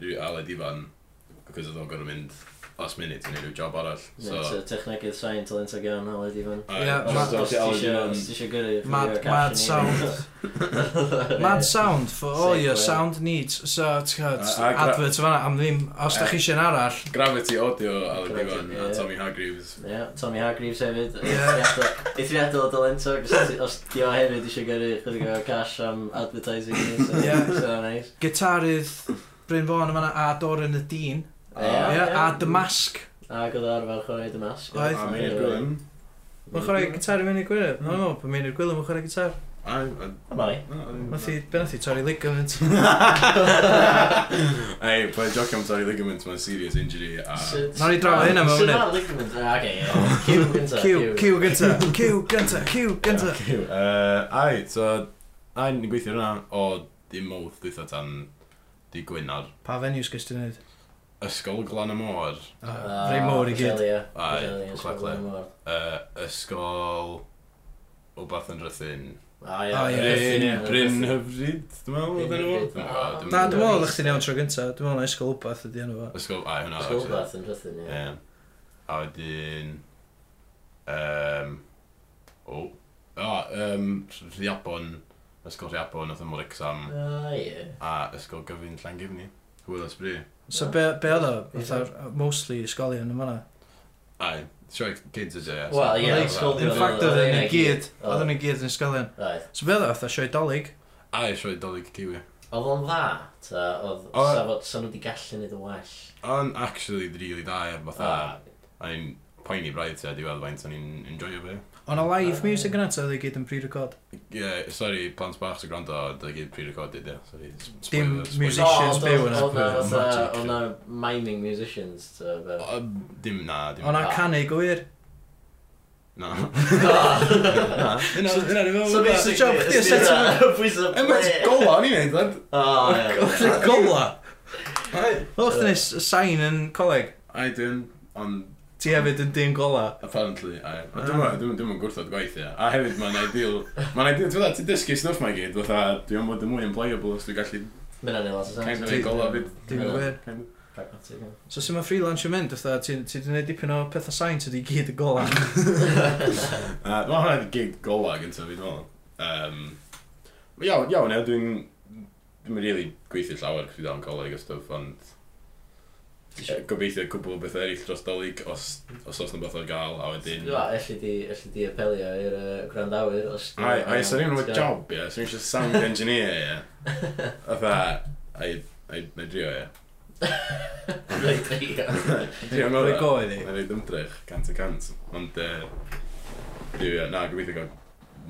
rhyw aled ifan, because oedd o'n gorau mynd last minute i neud rhyw job arall. So, Technegydd sain talent ag iawn, hal wedi fan. ai, Ie, ma- just dod i aled Os ifan. ti eisiau gyrru... Mad, mad sound. Mad sound for all your sound needs. So, ti'n gwybod, A- a gra- advert yma, am ddim, os da chi eisiau'n arall, Gravity Audio aled ifan Ie. a Tommy Hargreaves. Ie, Tommy Hargreaves hefyd. Ie. Eithriadol o Dalentog. Os di o hefyd eisiau gyrru chydig o cash am advertising. Ie. Ie. So, nice. gitarydd Bryn Fawn yma a Doran y Dyn. Ie. Ie, a The Mask. Ac oedd arfer chwarae dy masg. Oedd. A Maynard Gwilym. Mae'n chwarae gitar i Mynir Gwynedd. Mae'n meddwl bod Mynir Gwynedd yn chwarae gitar. Ai, a- Mae. Nath i, be nath i torri ligament. Ei, pwy joc am torri ligament mae'n serious injury a... Nawn ni draw hynna mewn munud. munud. Oce, Ah, ie. Oh. Cyw gynta. Q, Q gynta, Q gynta, Q gynta. Yy, Ai, so... Ai, ni'n gweithio hwnna o dim mowth dwytha tan di Gwynar. Pa venues gys ti'n neud? Ysgol Glan y Môr. Ah, Rhaid mor Ah, i gyd. Ie. Ai, Claclan. Yy, Ysgol... o bath yn rhythyn. A O, Ah, ie, ia. Bryn hyfryd, dwi'n meddwl, Bryn ydyn nhw? hyfryd. Dwi'n meddwl, Na, dwi'n Na, dwi'n meddwl. meddwl na chdi'n iawn tro gynta. Dwi'n meddwl na Ysgol Wbath ydi enw fo. Ysgol, a hwnna. School actually. bath yn rhythyn, ie. Ie. A wedyn... Um, o. Oh. A, um, Rhiabon. Ysgol Rhiabon, oedd ymwyr exam. A Ah, ie. A ysgol gyfyn Llangefni. Hwyl ysbri. So be, be oedd o? Fatha mostly ysgolion yn fanna. Ai, siarad kids ydy. Wel, ie, Oedd- ysgol In oedd- fact, oedd- oedd oedd- yn i gyd. oedd- Oedd yn i gyd yn ysgolion. Right. So be oedd o? Fatha sioi dolyg. Ai, siarad dolyg kiwi. Oedd o'n dda, ta oedd O- safod sa'n nhw wedi gallu neud yn well. Ah. Ond actually, really da, ie, fatha. A, A i'n poeni braidd te, dwi'n weld faint o'n i'n enjoyo fe. Ond o live music yna, ta oedd i gyd yn pre-record. Ie, yeah, sori, plant bach sy'n gwrando, dwi'n gyd pre-recorded, ie. Sorry, Dim spoiler, So, music. spoiler. Musicians ond byw oedd- yna. Oedd na Ie, fatha- magic. Oh, oedd na miming musicians, ta. be- O, Dim na, dim Ond na. a canu gwir. Na. Na. Yna, yna, yna, So basi- basically, job chdi, it's set just a piece of clay. gola o'n i'n neud, lad. O, ie. Oedd y gola. Ai. Oedd yn sain yn coleg. Ai, dwi'n, ond, Ti hefyd yn dyn gola. apparently, ai. Ah. Ond Dwi'n meddwl- dwi'n dwi'n gwrthod gwaith, ie. A hefyd, mae'n ideal, mae'n ideal, dwi'n meddwl, ti'n dysgu stuff mae gyd, fatha, dwi'n bod yn mwy employable os dwi'n gallu Mae'n anodd lot o sense. kind of neud gola fyd. Dim Ie. gwir. Kind of. Pragmatic, ie. So sy'n mae freelance yn mynd, oedd ti wedi gwneud dipyn o pethau sain sydd i gyd y gola. Uh, Mae hwnna wedi gig gola gyntaf fi, dwi'n meddwl. Um, iawn, iawn, ie, dwi'n... Dwi'n really gweithio llawer, cos fi dal yn coleg a stuff, ond... Ie, Gobeithio cwbl o bethau eraill dros dolyg, os, os oes na beth o'r gael, a wedyn... Wel, elli di, elli di apelio i'r uh, grandawyr os... di- Ai, ai, sa'n un o'r Ti'n gwbod? job, ie, sa'n eisiau sound engineer, ie. Fytha, ai, ai, na drio, ie. Reit, ie. Drio Rwy'n yn gorau. go iddi. Na reid ymdrech, cant y cant. Ond, yy, dwi, ie, na, gobeithio gael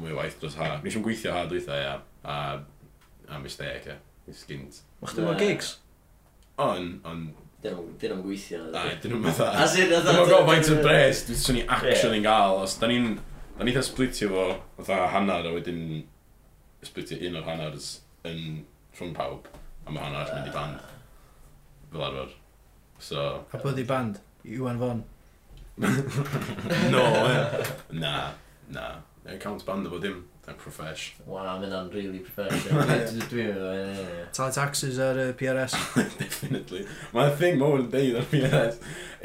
mwy o waith dros ha. Nes i'n gweithio ha dwytha, ie, a, a mistake, ie. Nes gynt. Mwch ddim o gigs? On, on, Dyn nhw'n- dyn nhw'n gweithio. ai, dyn nhw'n fatha. As in, fatha- Dwi'n meddwl gofio faint o bres, dwi'n swn i actually yn gael, os da ni'n, da ni'n splitio fo, fatha hanner, a wedyn splitio un o'r hanner yn rhwng pawb, a mae hanner arall mynd i band, fel arfer. So, A bod i band? Iwan Fon. no, ie. na, na. Ie, Count band efo dim, dwi'n profesh. Waw, mae'n anodd really professional. Dwi'n mynd o, ie, ie. Talu taxes ar y PRS. Definitely. My thing more than day that realize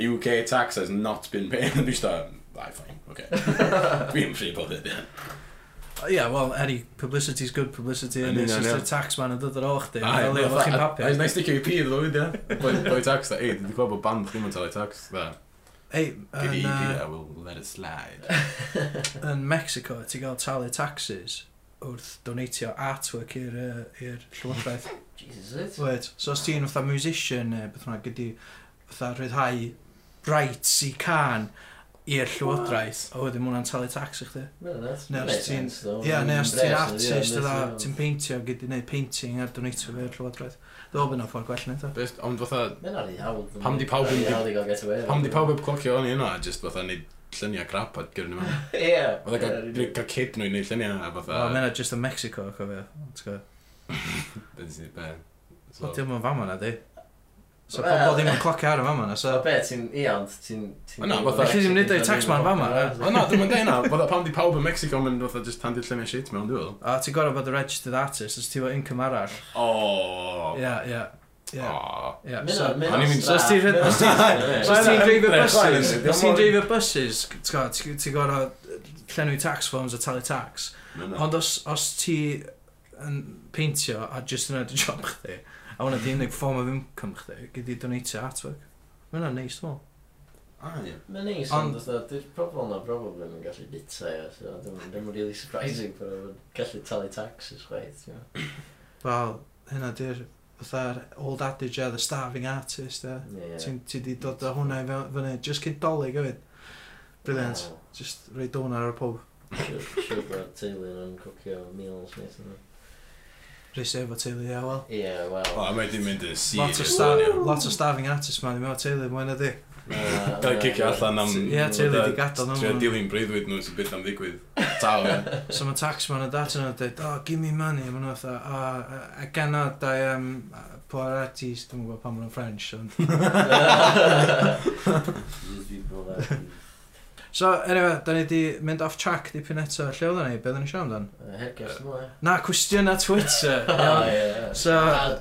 UK tax has not been paid. Dwi'n start, ai, fine, okay. Dwi'n free bod it, yeah. Ie, yeah, wel, any publicity's good publicity. Yn And it's union, just ie. a tax man yn dod ar ôl chdi. Ai, Fel ei fod chi'n Ai, papur. nice sticio i pyd ddod, ie. Boi tax, ei, dwi'n gwybod bod band ddim yn talu tax. Da. Ei, Give yn, me uh, I will let it slide. yn Mexico, ti gael talu taxes wrth donatio artwork i'r uh, i'r llywodraeth. Jesus, is it? Wait, so os ti'n fatha musician neu beth hwnna, gyda fatha rhyddhau rights i can i'r llywodraeth, a wedyn mwna'n talu tax i chdi. Mae'n anodd. Neu os Makes ti'n- sense, though. Ie, yeah, neu os Impressive, ti'n ie, artist makes ydda, sense. ti'n peintio, gyda neud painting ar donatio fe'r llywodraeth. Dwi'n bod yna ffordd gwell neud o. Best, ond fatha, Mae'n anodd i hawdd. Pam di pawb yn- Mae'n anodd i gael get away. pam di pawb heb clocio o'n i yna, just fatha neud lluniau crap a gyrwyd ni mewn. Ie. Fatha gael gael kid nhw'n neud lluniau a Wel, mae fatha... yna just yn Mexico, cofio. Ti'n gwybod? Beth sy'n be. So, Wel, dim yn fama na, di. So Wel- pobl ddim yn clocio ar y fama na, so... So be, ti'n... Ie, ond ti'n... ti'n- O, na, fatha- Felly ddim neud o'i tax man fama, O na, dwi'n mynd yna, fatha pam di pawb yn Mexico yn fatha just handed lluniau shit mewn, dwi'n A ti'n gorau bod y registered artist, os ti'n fawr income arall. Oh. Ie, ie. Ie, Oh. ie. Mae'n So- anodd- mae'n O'n i'n mynd- anodd So os straf. ti'n rhedeg- os ti'n- Ie. So os ti'n Wel, dreifio ymdrech, buses, chwaith, os ti'n dim ond- dreifio buses, ti'n gwbod, ti- ti'n gorau llenwi tax forms a talu tax. Ond os, os ti yn peintio a just yn edrych job chdi, a hwnna di unig form of income chdi, gyda i donatio artwork. Mae hwnna'n neis, dwi'n meddwl. Ah, ie. Mae'n neis, Ond- ond oedd dwi'n probl na probably yn gallu bita, ia, so ddim ddim yn really surprising bod o'n gallu talu taxes chwaith, ia. Wel, hynna di'r fatha'r old adage of the starving artist, e. Ie. Ti'n ti di dod o hwnna i fe- fyny, just cyn dolyg hefyd. Brilliant. Wow. Just rei donar ar y pob. Siw- Siw bod teulu yn cwcio meals neis yna. Rei sef o teulu, ie, wel. Ie, O, wel. a mae di mynd yn Lot o, serious. star, lot o starving artist man, i mewn teulu, mwy na di. Yy, Gael cicio allan am... Ie, teulu di gadael Trio nhw. dilyn breuddwyd nhw sy'n byth am ddigwydd. Taw, ie. So mae tax man o dat yna dweud, oh, give me money. Mae nhw fatha, oh, I cannot, I am Poiratis, dwi'n gwybod pan mae'n French. Ond... These people are- So, anyway, da ni di mynd off track dipyn eto. Lle oedden ni? Be oedden ni siarad amdan? Hergers yma. Na, cwestiwn Twitter. iawn. So, uh,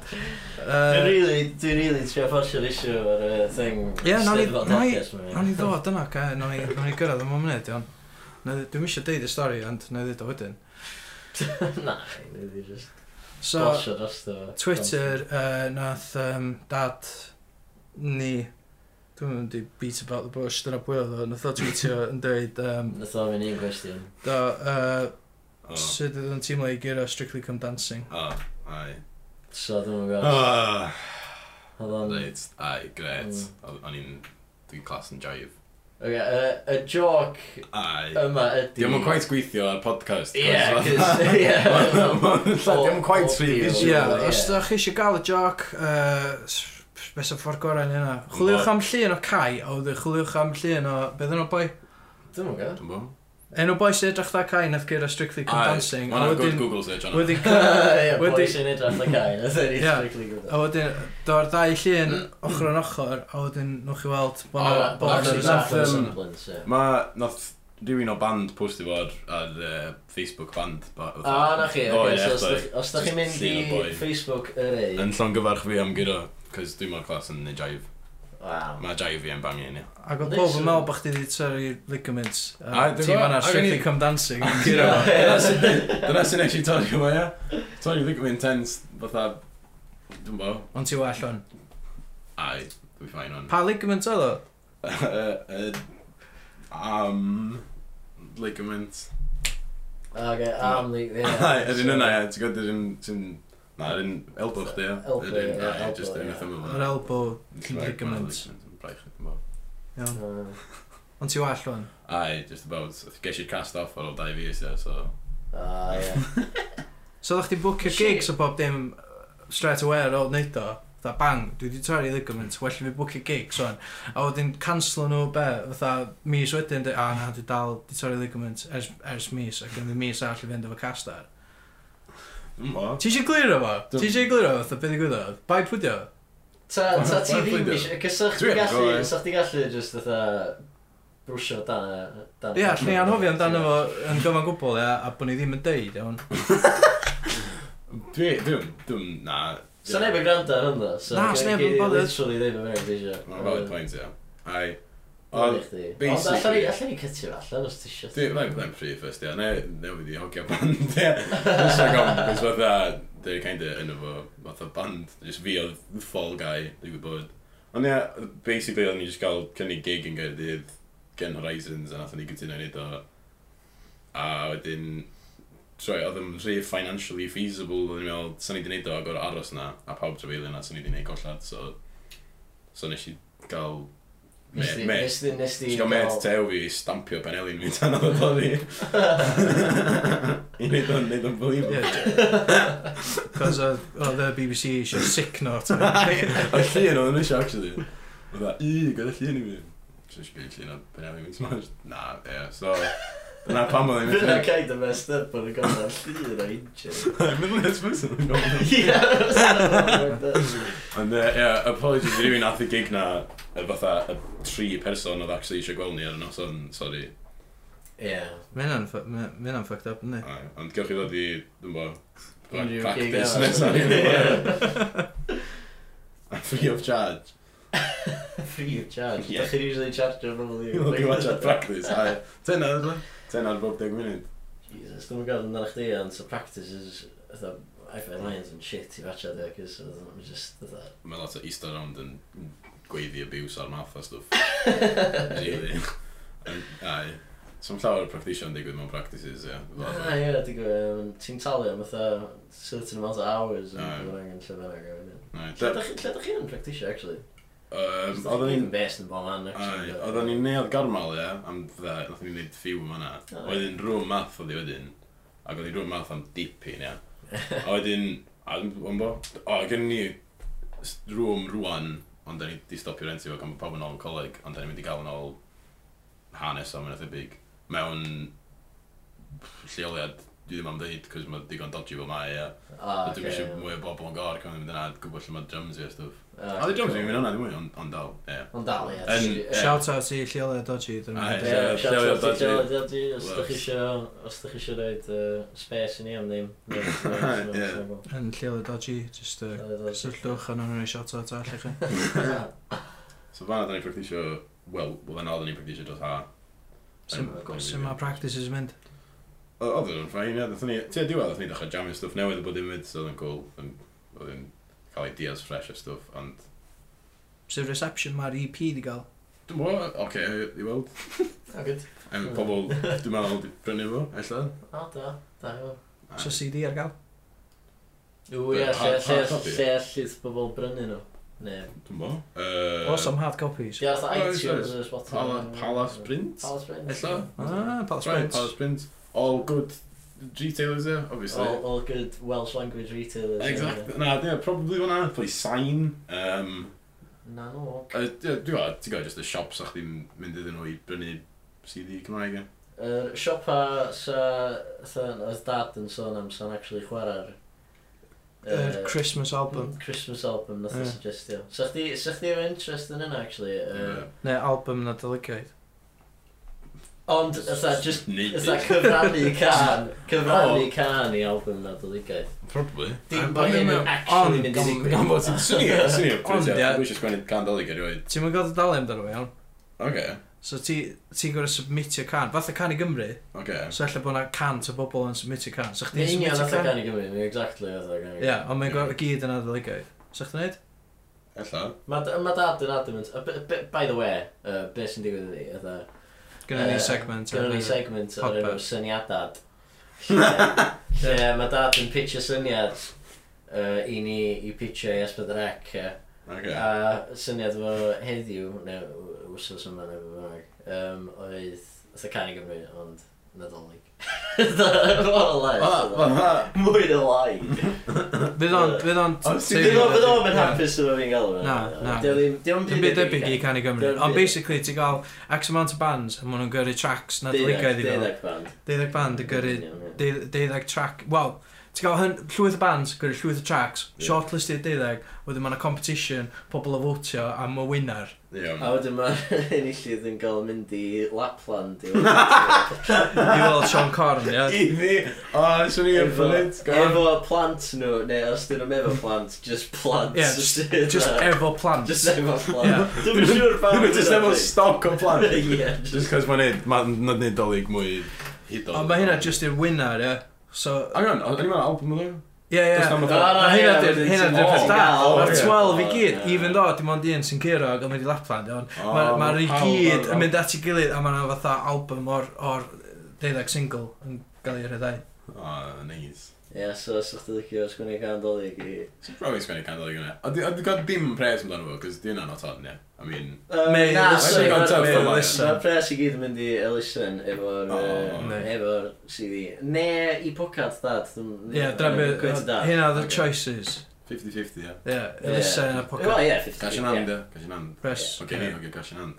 Dwi'n yy, really, dwi'n really trio fforsio'r issue ar y thing Ie, nawn ni- Steddfod nawn ni- Hergest 'ma. Nawn ni ddod yna, ca, nawn ni, nawn ni gyrraedd am o'n munud, iawn. Na- Dwi'm eisiau deud y stori, ond na i ddeud o wedyn. Na, dwi'n just So, blosio dros o Twitter, uh, nath um, dad ni, dwi'n mynd i beat about the bush, dyna pwy oedd o, nath o tweetio yn dweud, um, Nath o'n mynd un cwestiwn do, uh, O, sut oedd yn teimlo i gyda Strictly Come Dancing. o, ai. So dwi'n mynd gweld Ah, Oedd o'n Reit, ai, gret. Mm. Oedd- O'n i'n... Dwi'n clas yn jive. Ok, y- y joc Ai. yma ydi Diolch yn quite gweithio ar podcast. Ie, Diolch yn quite rhy Ie, Ie, yeah, visual. ie. os ydych chi eisiau gael y joc, uh, beth sy'n ffordd gorau yn hynna. Chwiliwch am llun o Cai, a oedd chwiliwch am llun o, beth yn o boi? Dwi'n mynd gweld Dwi'n bo? Enw boi sy'n edrych dda Cai, nath gyda Strictly Come Ai, Dancing. Mae'n a good wedyn- Google search ond. Wedi Ie, boi wedi- sy'n edrych na cael Nath o'n Ie. Oh, strictly gwybod A wedyn, do'r ddau llun ochr yn ochr, a wedyn nwch chi weld bod Mm. O, na- bod na actually, rhywbeth nath, yn- um, Mae, nath rhywun o band postio fo ar, ar uh, Facebook band. ba- O, Ah, Ah, na chi, O, ok, ie, so os boi. dych- os da chi'n mynd Llun o i boi. Facebook yr ei Yn llon gyfarch fi am gyda, cos dwi'n mor clas yn neud jive. Waw Mae jive fi yn bangio ni. Ac oedd pob yn meddwl bod chdi wedi torri ligaments. A, dwi'n Ti'n fanna gwbod, ac o'n strictly i- come dancing. Gyda fo. Dyna sy'n- Dyna sy'n eisiau torri fo, ia. Torri ddim yn intense, fatha... Dwi'n bo? Ond ti well o'n. Ai, dwi'n ffain o'n. Pa ligament oedd o? Yy, Am... Ligament. Ok, am ni ie. Ai, yr un So- yna, ia. Ti'n gwybod, yr un... ti'n- Na, yr un elbow chdi, ia. Elbow, Yr un- ie, ai, elbow, Just ie. yn ythym Yr yma. elbow ligament. Braich, dwi'n bo. Iawn. Mm. Ond ti well o'n. Ai, just about. Ges i'r cast off ar ôl dau fi, ia, so... Ah, ie. So oedd chdi bwcio Shit. gigs o bob dim uh, straight away ar ôl neud o. Fatha bang, dwi wedi torri ligaments, well i fi bwcio gigs o'n. A wedyn cancel nhw be, fatha mis wedyn, dweud, a na, dwi dal di torri ligaments ers, ers mis, ac yn mis all i fynd efo castar. Dwi'n bo. Ti eisiau glir o fo? Ti Dw- eisiau glir o fo? Fatha, beth i gwybod o? Bai pwydio? Ta, ta ti Wel, ddim pwy eisiau... Cys sa'ch Dwi ti'n yn gallu, gwybod. sa'ch ti'n gallu just fatha brwsio dan y... Ia, lle ni anhofio amdano fo yn gyfan gwbl, ia, a bod ni ddim yn deud, iawn. Dwi, dwi'n, dwi'n, na. So neb yn gwrando ar hwn ddo, so... Na, gen- sneb yn gen i bothered. Literally ddim yn mynd eisiau. Mae'n valid point, ia. Ai. Ond Ond, chdi. Ond basically- allan ni- allan ni cytio fo allan os ti eisiau. Dwi, mae'n gwneud free first, ia. Ne, ne wedi hogio band, ia. Dwi'n siarad gofyn, cos fatha, dwi'n kind of yn efo, fatha band. Just fi oedd the fall guy, dwi'n gwybod. Ond ia, basically, oedden ni just gael cynnig gig yn gael dydd gen Horizons, a nathon ni gytuno i wneud o. A wedyn, troi, oedd yn rhy financially feasible, oedden ni'n meddwl, sa'n ni di wneud o, agor aros na, a pawb trafeilio na, sa'n ni di wneud gollad, so... So nes i gael... Nes Me, di- me, nes di- nes di... Ti'n gael met gael- tew fi i stampio penelin fi tan oedd o fi. I neud o'n neud o'n Ie. believe. Cos oedd oedd y BBC eisiau sick note. A llun o'n eisiau actually. Oedd a i, gyda llun i fi. Ti'n sbio llun o penelin fi smash? Na, ie, so... Dyna pam oedd Fyna e'n kind of messed up yn y gofod llun o injury. Middle East person yn gofyn. Ie, Ie, Ond yy, ie, apologies i rywun ath i gig na y fatha y tri person oedd actually eisiau gweld ni ar y noson, sori. Mae'n fucked up, ynddi? Ai, Ond gewch chi ddod i, dwi'n bo, Unrhyw gig practice arall. nes o'n i'n Free of charge. free of charge. Ie. Dach chi'n usually charge o'n ymwneud. Dwi'n gwybod watch at practice, a ten ar ydw? Ten ar bob deg munud. Jesus, dwi'n gwybod yn arach di, ond so practice is, fatha, iPhone Hmm. Lions yn shit i fatcha de, cys I'm just, fatha, Mae lot o easter round yn gweiddi abuse ar math a stwff. Really. Yn- Ai. So mae llawer o practisio'n digwydd mewn practices, ie. Na, Fel- Ah, ie, dwi'n gwybod, um, ti'n talu am fatha certain amount of hours yn Aye. fawr angen lle fanna gofyn. Ai, Lle da- dach chi- lle dach chi'n practisio, actually? yym, Cos dach Oedden chi'n ni'n... best yn bob man, Ai, actually. oedden ni'n neud garmal, ie, am fydda, oedden ni'n neud ffiw yma na. Aye. Oedden rhwm math oedd i wedyn, ac oedden rhwm math am dipyn, ie. A wedyn, a yn bo, o, gen ni s- rŵm rwan, ond da ni di stopio rentio fo gan bod pawb yn ôl yn coleg, ond da ni'n mynd i gael yn ôl hanes o'n mynd big, mewn lleoliad dwi ddim am ddeud, cos mae digon dodgy fel mae, ia. Ah, A Dwi'n eisiau mwy o bobl yn gor, cofyn mynd yna, gwybod lle mae drums i a stwff. Ah, A dwi drums i'n mynd yna, dwi'n mynd, ond dal, ie. Ond dal, ie. Yn- ti- ie. Shout out i Lleolia Dodgy. dyn Aye. nhw. Ie, Ie, shout llew- out i dodgy. Joe Dodgy, os dych chi Works. isio- os dych chi isio roid yy, space i ni am ddim. Ie, Ie. Yn Lleolia Dodgy, just uh, cysylltwch a nhw'n rhoi shout out all i chi. So fanna, da ni'n practisio, wel, wel, yna oedden ni'n practisio dros ha. Sim- Sut mae practices yn mynd? O- Oedden nhw'n ffain, ie. Dwi'n ni, ti'n diwedd, dwi'n dechrau jamming stwff newydd o bod i'n mynd, so oedd yn cool. yn- Oedd yn cael ideas fresh a stwff, ond... Sy'n reception mae'r EP di gael? Dwi'n mwyn, oce, i weld. O, good. Em, pobl, dwi'n meddwl, di brynu fo, ella. O, da. Da, iawn. A- So CD ar gael? Ww, ie, lle- Hard- lle hard copy? lle allith bobl brynu nhw. Ne. Dwi'n mwyn. Yy, O, some hard copies. Ie, fatha Oes, iTunes oes. neu Spotify. Oh, Pala- Palace Print? Palace Print. Ella? Ah, Palace Right, Prince. Palace Print. All good retailers there, obviously. All, all good Welsh language retailers. Exact. Na, dwi'n probably hwnna, play sign. Um, Na, no. a Dwi'n gwybod, ti'n gwybod, just y shop sa'ch ddim mynd iddyn nhw i brynu CD Cymraeg. e? ie? Yr siopa sa, sa, oedd dad yn sôn am sa'n actually chwarae'r Yr Christmas album. album. Christmas album nath o Ie. suggestio. Sa chdi, sa chdi efo interest yn yna actually? Uh, Yy, Neu album na dyligaid. ond ytha just neud Ytha it. cyfrannu can, cyfrannu O. can i album na dyligaeth. Probably. Dim Yym, bod ond hyn ddim- yn actually ond mynd i gan- ddigwydd. gan bod ti'n swnio, swnio, Ond, pwynt, ie. ie. Dwi eisiau sgwennu candolig erioed. Ti'n mynd gael dy dalu amdano fe, iawn? Oce, So ti- ti'n gorau submitio can. Fatha can i Gymru. oce. So ella bod na cant o bobl yn submitio can. So Ni chdi'n union submitio nath o can? gan i Gymru, ni exactly nath o gan i Ie, ond mae'n gorau gyd yn adolygaid. So chdi'n neud? Ella. Mae dad yn adamant, a b- b- by the way, uh, beth sy'n digwydd ydi, ytha, Gynna ni Yy, segment. ar gynnu ni hynny. segment o'r enw Podpeth. syniadad. Lle, lle mae dad yn pitio syniad uh, i ni i pitio i Esbydrec. Uh, Oce. A syniad fo heddiw, neu w- wsos yma neu fe bynnag, um, oedd, oedd y can i Gymru, ond nadolig. Mwy Ah, o lai. Mwy o lai. Fydd o'n... Fydd o'n... Os ti'n Fydd o- fydd o'n Ie. mynd hapus yma fi'n galw fe. Na, na. Dio ddim... Dio Dim byd debyg i can i Gymru. Dim Ond byd. basically, ti'n gael X amount o bands, a maen nhw'n gyrru tracks na dyligaid i fel. Deuddeg band. Deuddeg band yn gyrru Union, ie. deu- deuddeg track. Wel, ti'n gael hyn, llwyth o bands, gyrru llwyth o tracks, Ie. shortlist i'r deuddeg, wedyn mae'n competition, pobl o fwtio am y winner. A Iawn. wedyn mae enillydd yn gael mynd i Lapland e? i weld- I weld Sean Corn, ie? Iddi! O, swnio yn efo, ffynid. efo plant nhw, neu os dyn nhw'n efo plant, just plant. Ie, just, Sydd just a- efo plant. Just efo Ie. plant. Dwi'n yn siŵr pam. Dwi'n just efo stoc o plant. Ie, Just cos mae'n neud, mae'n neud dolyg mwy hudol. Ond mae hynna just i'r winner, ie? So, Hang on, o'n i'n meddwl album o'n nhw? ie, ie. Does na'm Na, na, Na, hynna ie, di'r wedyn hynna ti'n- di'r Oh, peth da. gal, Mae'r ie. 12 i gyd, Ie. even though dim ond un sy'n cyrra ac yn mynd i Lapland, iawn. O, Mae'r ma i Oh, pawb gyd ar- yn mynd at i gilydd a mae'na fatha album o'r, or deuddeg single yn gael ei rhyddai. O, neis. Ie, so os ydych chi'n licio sgwini can dolyg i... Probably sgwennu candolig yna. A di- a di gael dim pres amdano fo, cos di hwnna'n oton, ie. I mean, Mae- na, listen, sorry, mae'n tough ma- for ma- listen. Mae'r pres i gyd yn mynd i elusen efo'r O, yy, ne. efo'r CD. Ne, i podcast dad. dwi'm- Ie, dyna dwi'n beth, cweit da. hynna oedd y Ocê. choices. 50-50, ie. Ie, Elisa yn y Wel, pocket. ie, 50. Cash in hand, ie. Cash in hand. Press. Oce, ni, oce, cash in hand.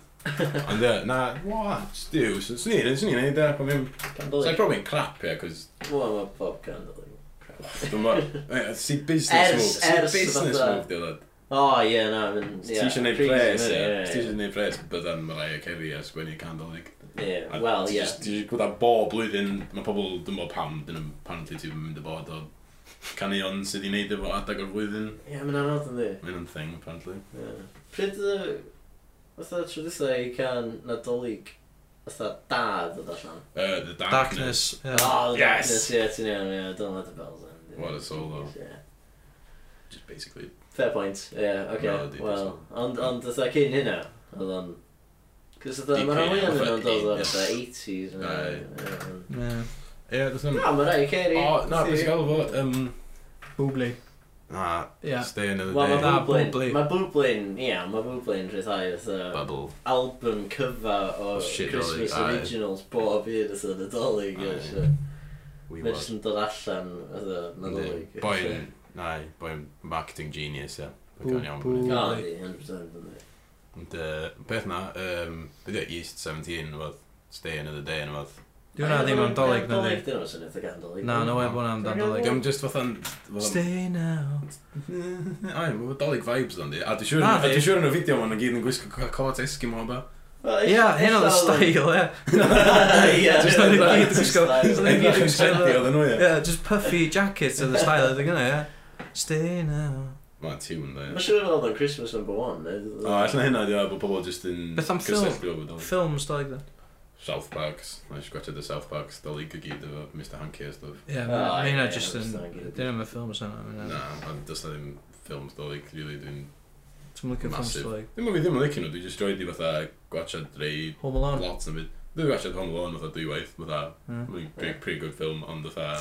Ond ie, na, wa, stiw, swn i'n neud, swn i'n neud, ie, pan fi'n... Sa'n Candolig. probably'n crap, ie, cos... Wel, mae bob candolig. Dwi'n bo... Ie, Si business Ers- move, si ers business fatha- move, dwi'n dod. O, ie, na, mynd... Ti eisiau neud pres, ie. Ti eisiau neud pres, bydda'n Mariah Carey a sgwennu candolig. Ie, wel, Ti ie. jyst- Ti eisiau gwybod bob blwyddyn, mae pobl, dwi'n bo pam, dyn nhw'n apparently ti'n mynd y bod o canion sydd i neud efo adag o'r flwyddyn. Ie, mae'n anodd yn di. Mae'n yn thing, apparently. Ie. Pryd y... Fytha tro dwytha i can nadolig Fytha da ddod allan Uh, the Darkness. Darkness. ie. Oh, Yes! yes! Ie, ti'n iawn, ie, don't let the bells in What a solo. Ie. Just basically Fair point, ie, yeah, oce, Melody, okay. wel doesn't Ond, ond, fytha cyn hynna Oedd o'n Cos fytha, Deep mae'n rhan in, fwyaf yn fatha o'n dod o'r eight- fytha 80s neu- Aye. yym. Ie. Ie, does ddim... Na, mae'n rhaid i Ceri O, na, beth gael fo? Um, Bubli. na, Ie. stay another Wel, day. Na, mae Bwblin, Bwblin. mae Bwblin, ie, mae Bwblin rhethau fatha Bubble. album cyfa o O, shit, Christmas Nadolig, aye. Originals bob un oedd yn y dolyg, Aye. ie, so. We Mae jyst was. yn dod allan oedd y Yndi. nadolig. Boi yn... Na, boi yn marketing genius, ie. Boi gan iawn. Bw- mate. bw- O, di, 100% yn di. uh, Ond, yy, peth na, um, beth yw East 17, fath, stay another day, yn fath. Di hwnna ddim am dolyg na di. Dyn nhw'n syniad o gan dolyg. Na, no way bod hwnna'n dan dolyg. Dwi'n just fatha'n... fatha'n- Stay now. Ai, mae dolyg vibes dan di. A dwi'n siŵr Na, a di. dwi'n siŵr yn y fideo ma'n gyd yn gwisgo co- cot Eskimo o ba. Ia, hyn oedd y style, ie. Ie, Just oedd y gyd yn gwisgo. Oedd y gyd Edrych yn yn shady gwisgo. oedd yn nhw, ie. Ie, just puffy jacket oedd y style oedd y gynnu, ie. Stay now. Mae'n tiwn, da, Mae'n ie. siŵr oedd o'n Christmas number one. neu- O, allan hynna, di o, bod pobl just yn... Beth am cysylltu efo dolyg. Films dolyg dda. South Parks. Mae'n gwachod y South Parks dolyg y gyd efo Mr Hanky a stuff. Ie, O, mae hynna ie, just yn... understand, ie. Dyn nhw'n ffilms yna. ma' hynna- Na, ond does na ddim ffilms dolyg, really, dwi'n... Dwi'n lycio ffilms Massive. dolyg. Dwi'n mynd ddim yn licio nhw, dwi'n just droed i fatha gwachod rei Home Alone. lot yn byd. Dwi'n gwachod Home Alone fatha dwywaith, fatha... Ie. Mae'n pretty, pretty good film, ond fatha...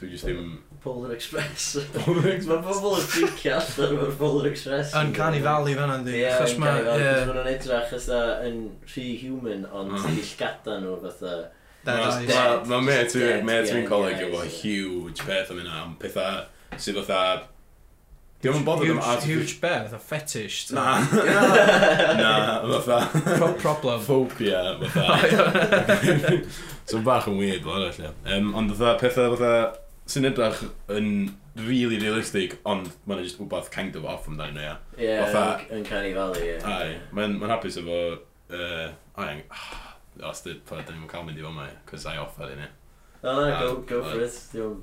Dwi'n just ddim... Polar Express. Polar Mae Express. pobl yn tricio allan o'r Polar Express. Uncanny Valley fan hynny. Ie, Chos Uncanny mae... Valley, Ie, cos ma' nhw'n edrych fatha yn rhy human, ond Mm. gillgada nhw fatha. dead Ma- eyes. ma- ma' mate fi- Dead, mate fi'n yeah, coleg yeah, efo yeah. huge peth am hynna, am petha sydd fatha- Dio'm yn bothered am Huge- artificial- Huge bear, a fetish. ta. Na. Na, fatha- Pro- Problem. phobia, fatha. So bach yn weird, fel arall, ie. Yym, ond fatha petha fatha sy'n edrych yn really realistic, ond ma' 'na just wbath kind of off amdanyn nhw, ie. Ie, Fatha- yn Uncanny Valley, ie. Aye, mae'n- mae'n hapus efo, yy, aye, os dy- pa- 'dyn ni'm yn cael mynd i fama, ie, 'cause I offered, innit? O, na, go- Ah, go for aye. it. Dwi'n...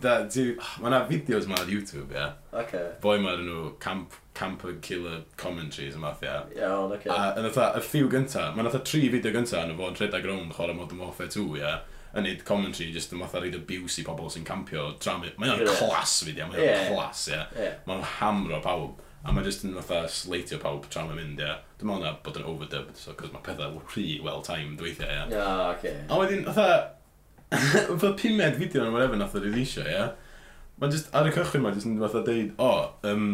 Da- ti- ma' 'na fideos 'ma ar YouTube, ie. Oce. boi ma'r nhw camp, camper killer commentaries yma ffia. Iawn, oce. A yn fatha, y ffiw gynta, mae'n fatha tri fideo gynta yn y fo'n rhedeg rownd chwarae Modern Warfare 2, ia. Yn neud commentary, jyst yn fatha reid abuse i pobl sy'n campio. Dram, mae'n Ie. yeah. clas fideo, mae'n Ie. yeah. clas, ia. Ie. Mae'n hamro pawb. A mae jyst yn fatha sleitio pawb tra mae'n mynd, ia. Dwi'n meddwl na bod yn overdubbed, so, cos mae pethau rhy well-timed weithiau, ia. O, oce. A wedyn, fatha, fatha pumed fideo yn whatever nath o release, ie? Yeah? Mae'n just, ar y cychwyn ma, jyst yn fatha deud, o, oh, um,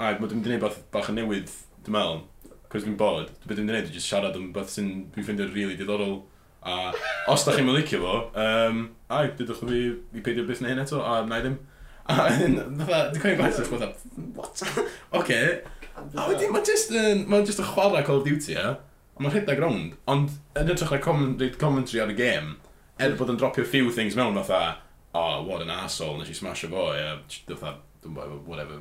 ai, ma dwi'n mynd i wneud beth bach yn newydd, dwi'n meddwl, cos dwi'n bod, dwi'n mynd i wneud, dwi'n just siarad am beth sy'n dwi'n ffeindio'n really diddorol, a os da chi'n mylicio fo, um, ai, dydwch fi i peidio beth neu hyn eto, a na i ddim. A wedyn, fatha, dwi'n cael ei gwaith, fatha, what? Oce, A wedyn mae'n just yn, mae'n just yn chwarae Call of Duty, ie? A mae'n rhedeg rownd, ond yn ytrach na comment, reid commentary ar y game, er bod yn dropio few things mewn, fatha, oh, what an arsehole, nes i smash o fo, ie? j- Fatha, dwi'n bod, whatever,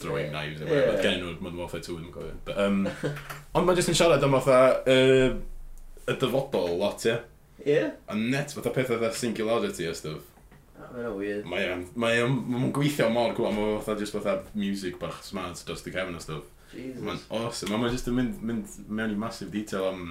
throwing knives, neu whatever, Ie. gen nhw'r Modern Warfare 2, dwi'n cofio. But, Um, ond mae'n just yn siarad am fatha, yy, y dyfodol lot, ie? Ie? A net, fatha pethau fatha singularity a stuff. Mae'n weird. Mae o'n mae o'n- mae o'n gweithio mor gwa, mae o fatha just fatha music bach smart dros y cefn a stuff. Mae'n Jesus. awesome. Mae'n just yn mynd, mynd mewn i massive detail am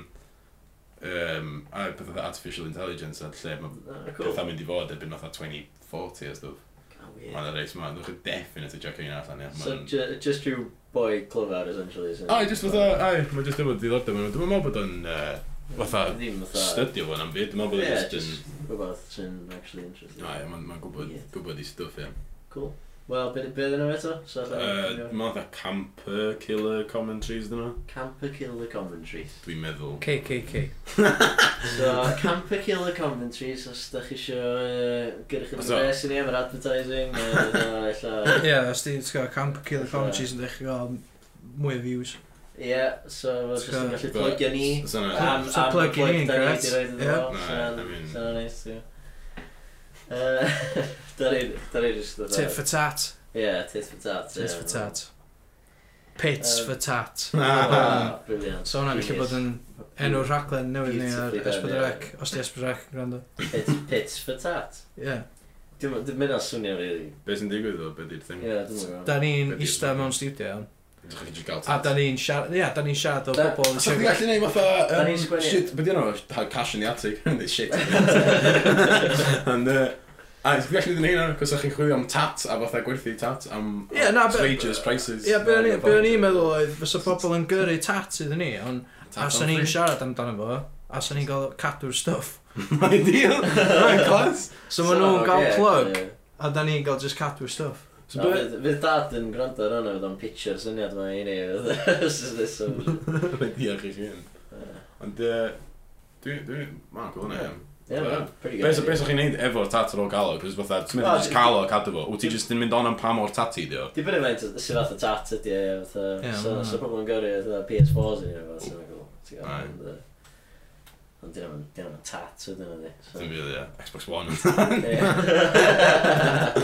um, a pethau fatha artificial intelligence a lle mae Ah, cool. pethau mynd i fod erbyn fatha 2040 a stwff. Ga'n weird. Mae'n y reis ma, ddwch chi definitely check un allan, ia. So, Ma'n- ju- just rhyw boi clyfar, essentially. isn't it? Ai, just fatha, ai, mae'n just efo diddordeb yn Dwi'n meddwl bod o'n uh, fatha Ddim fatha... studio fo'n am fyd, dwi'n meddwl bod Ie, o'n just just rhywbeth sy'n actually interesting. yn... Ai, mae'n ma gwybod, Ie. gwybod i stwff, ia. Cool. Wel, beth be ydyn nhw eto? So, Yy, uh, Dwi'n meddwl fatha camper killer commentaries dyn nhw. Camper Killer Commentaries. Dwi'n meddwl. KKK. So, Camper Killer Commentaries, os da chi isio uh, gyrch yn So- bres i ni efo'r advertising, neu ella... Ie, os ti'n gael camp killer commentaries yn dechrau gael mwy o views. Ie, so, fel jyst yn gallu plugio ni. But- so na- Am, So am y plug plug in, da ni correct? wedi roed iddo Ie. fo, Na, I mean- so na neis, ie. Yy, Da ni, da ni jyst yn... Tit for tat. Ie, tit for tat. Tit ie. for tat. Pits Yym. for tat. Na. Wow, Brilliant. So hwnna gallu bod yn enw rhaglen newydd ni ar Beautifully done, Esbydrec, os di Esbydrec yn gwrando. Pits, pits for tat. Ie. Dwi'n mynd o'n swnio rili. Be sy'n digwydd o, be di'r thing? Ie, dwi'n mynd o'n. Da ni'n Be' di- eista mewn studio iawn. Ydych chi'n gael A da ni'n siarad, ie, da ni'n siarad o Da- bobl yn Os ydych chi'n siarad. gallu neud fatha, Da ni'n um, sgwennu- shit, beth yna, cash in the attic, and this shit. And, uh, a ydych chi'n gallu neud hynna, cos ydych chi'n chwilio am tat, a fatha gwerthu tat, am Ie, na, be- wages, prices. Ie, be o'n i- be o'n i'n meddwl oedd, fysa pobl yn gyrru tat iddyn ni, ond Tat as am o'n i'n free. siarad amdano fo, as o'n i'n gael cadw'r stuff. Mae'n deal, mae'n glas. So ma nhw'n gael plug, a da ni'n gael just cadw'r stuff. So be, Fydd dad yn gwrando ar hwnna, fydd o'n pitcher syniad mae i ni. fydd- Os oes this some- mae'n deal chi chi'n. Ond, uh, dwi, dwi, mae'n cool yna, ie. Ie, ma'n pretty good. Be sy'n chi'n neud efo'r tat ar ôl galw? Cos fatha, ti'n O, meddwl jyst d- galw a cadw fo? Wyt ti jyst yn mynd on am pa mor tati, di o? Di byd event, sy'n fath o tat ydi, ie, fatha, Ie, so ma' hwnna. so pobl yn gyrru, fatha, PS4s i ni, fatha, sy'n meddwl. Ti'n gael, Aye. ond, yy, Ond Dyn nhw'n dyn nhw'n tat o dyn Dim nhw'n really, ie. Xbox One. di.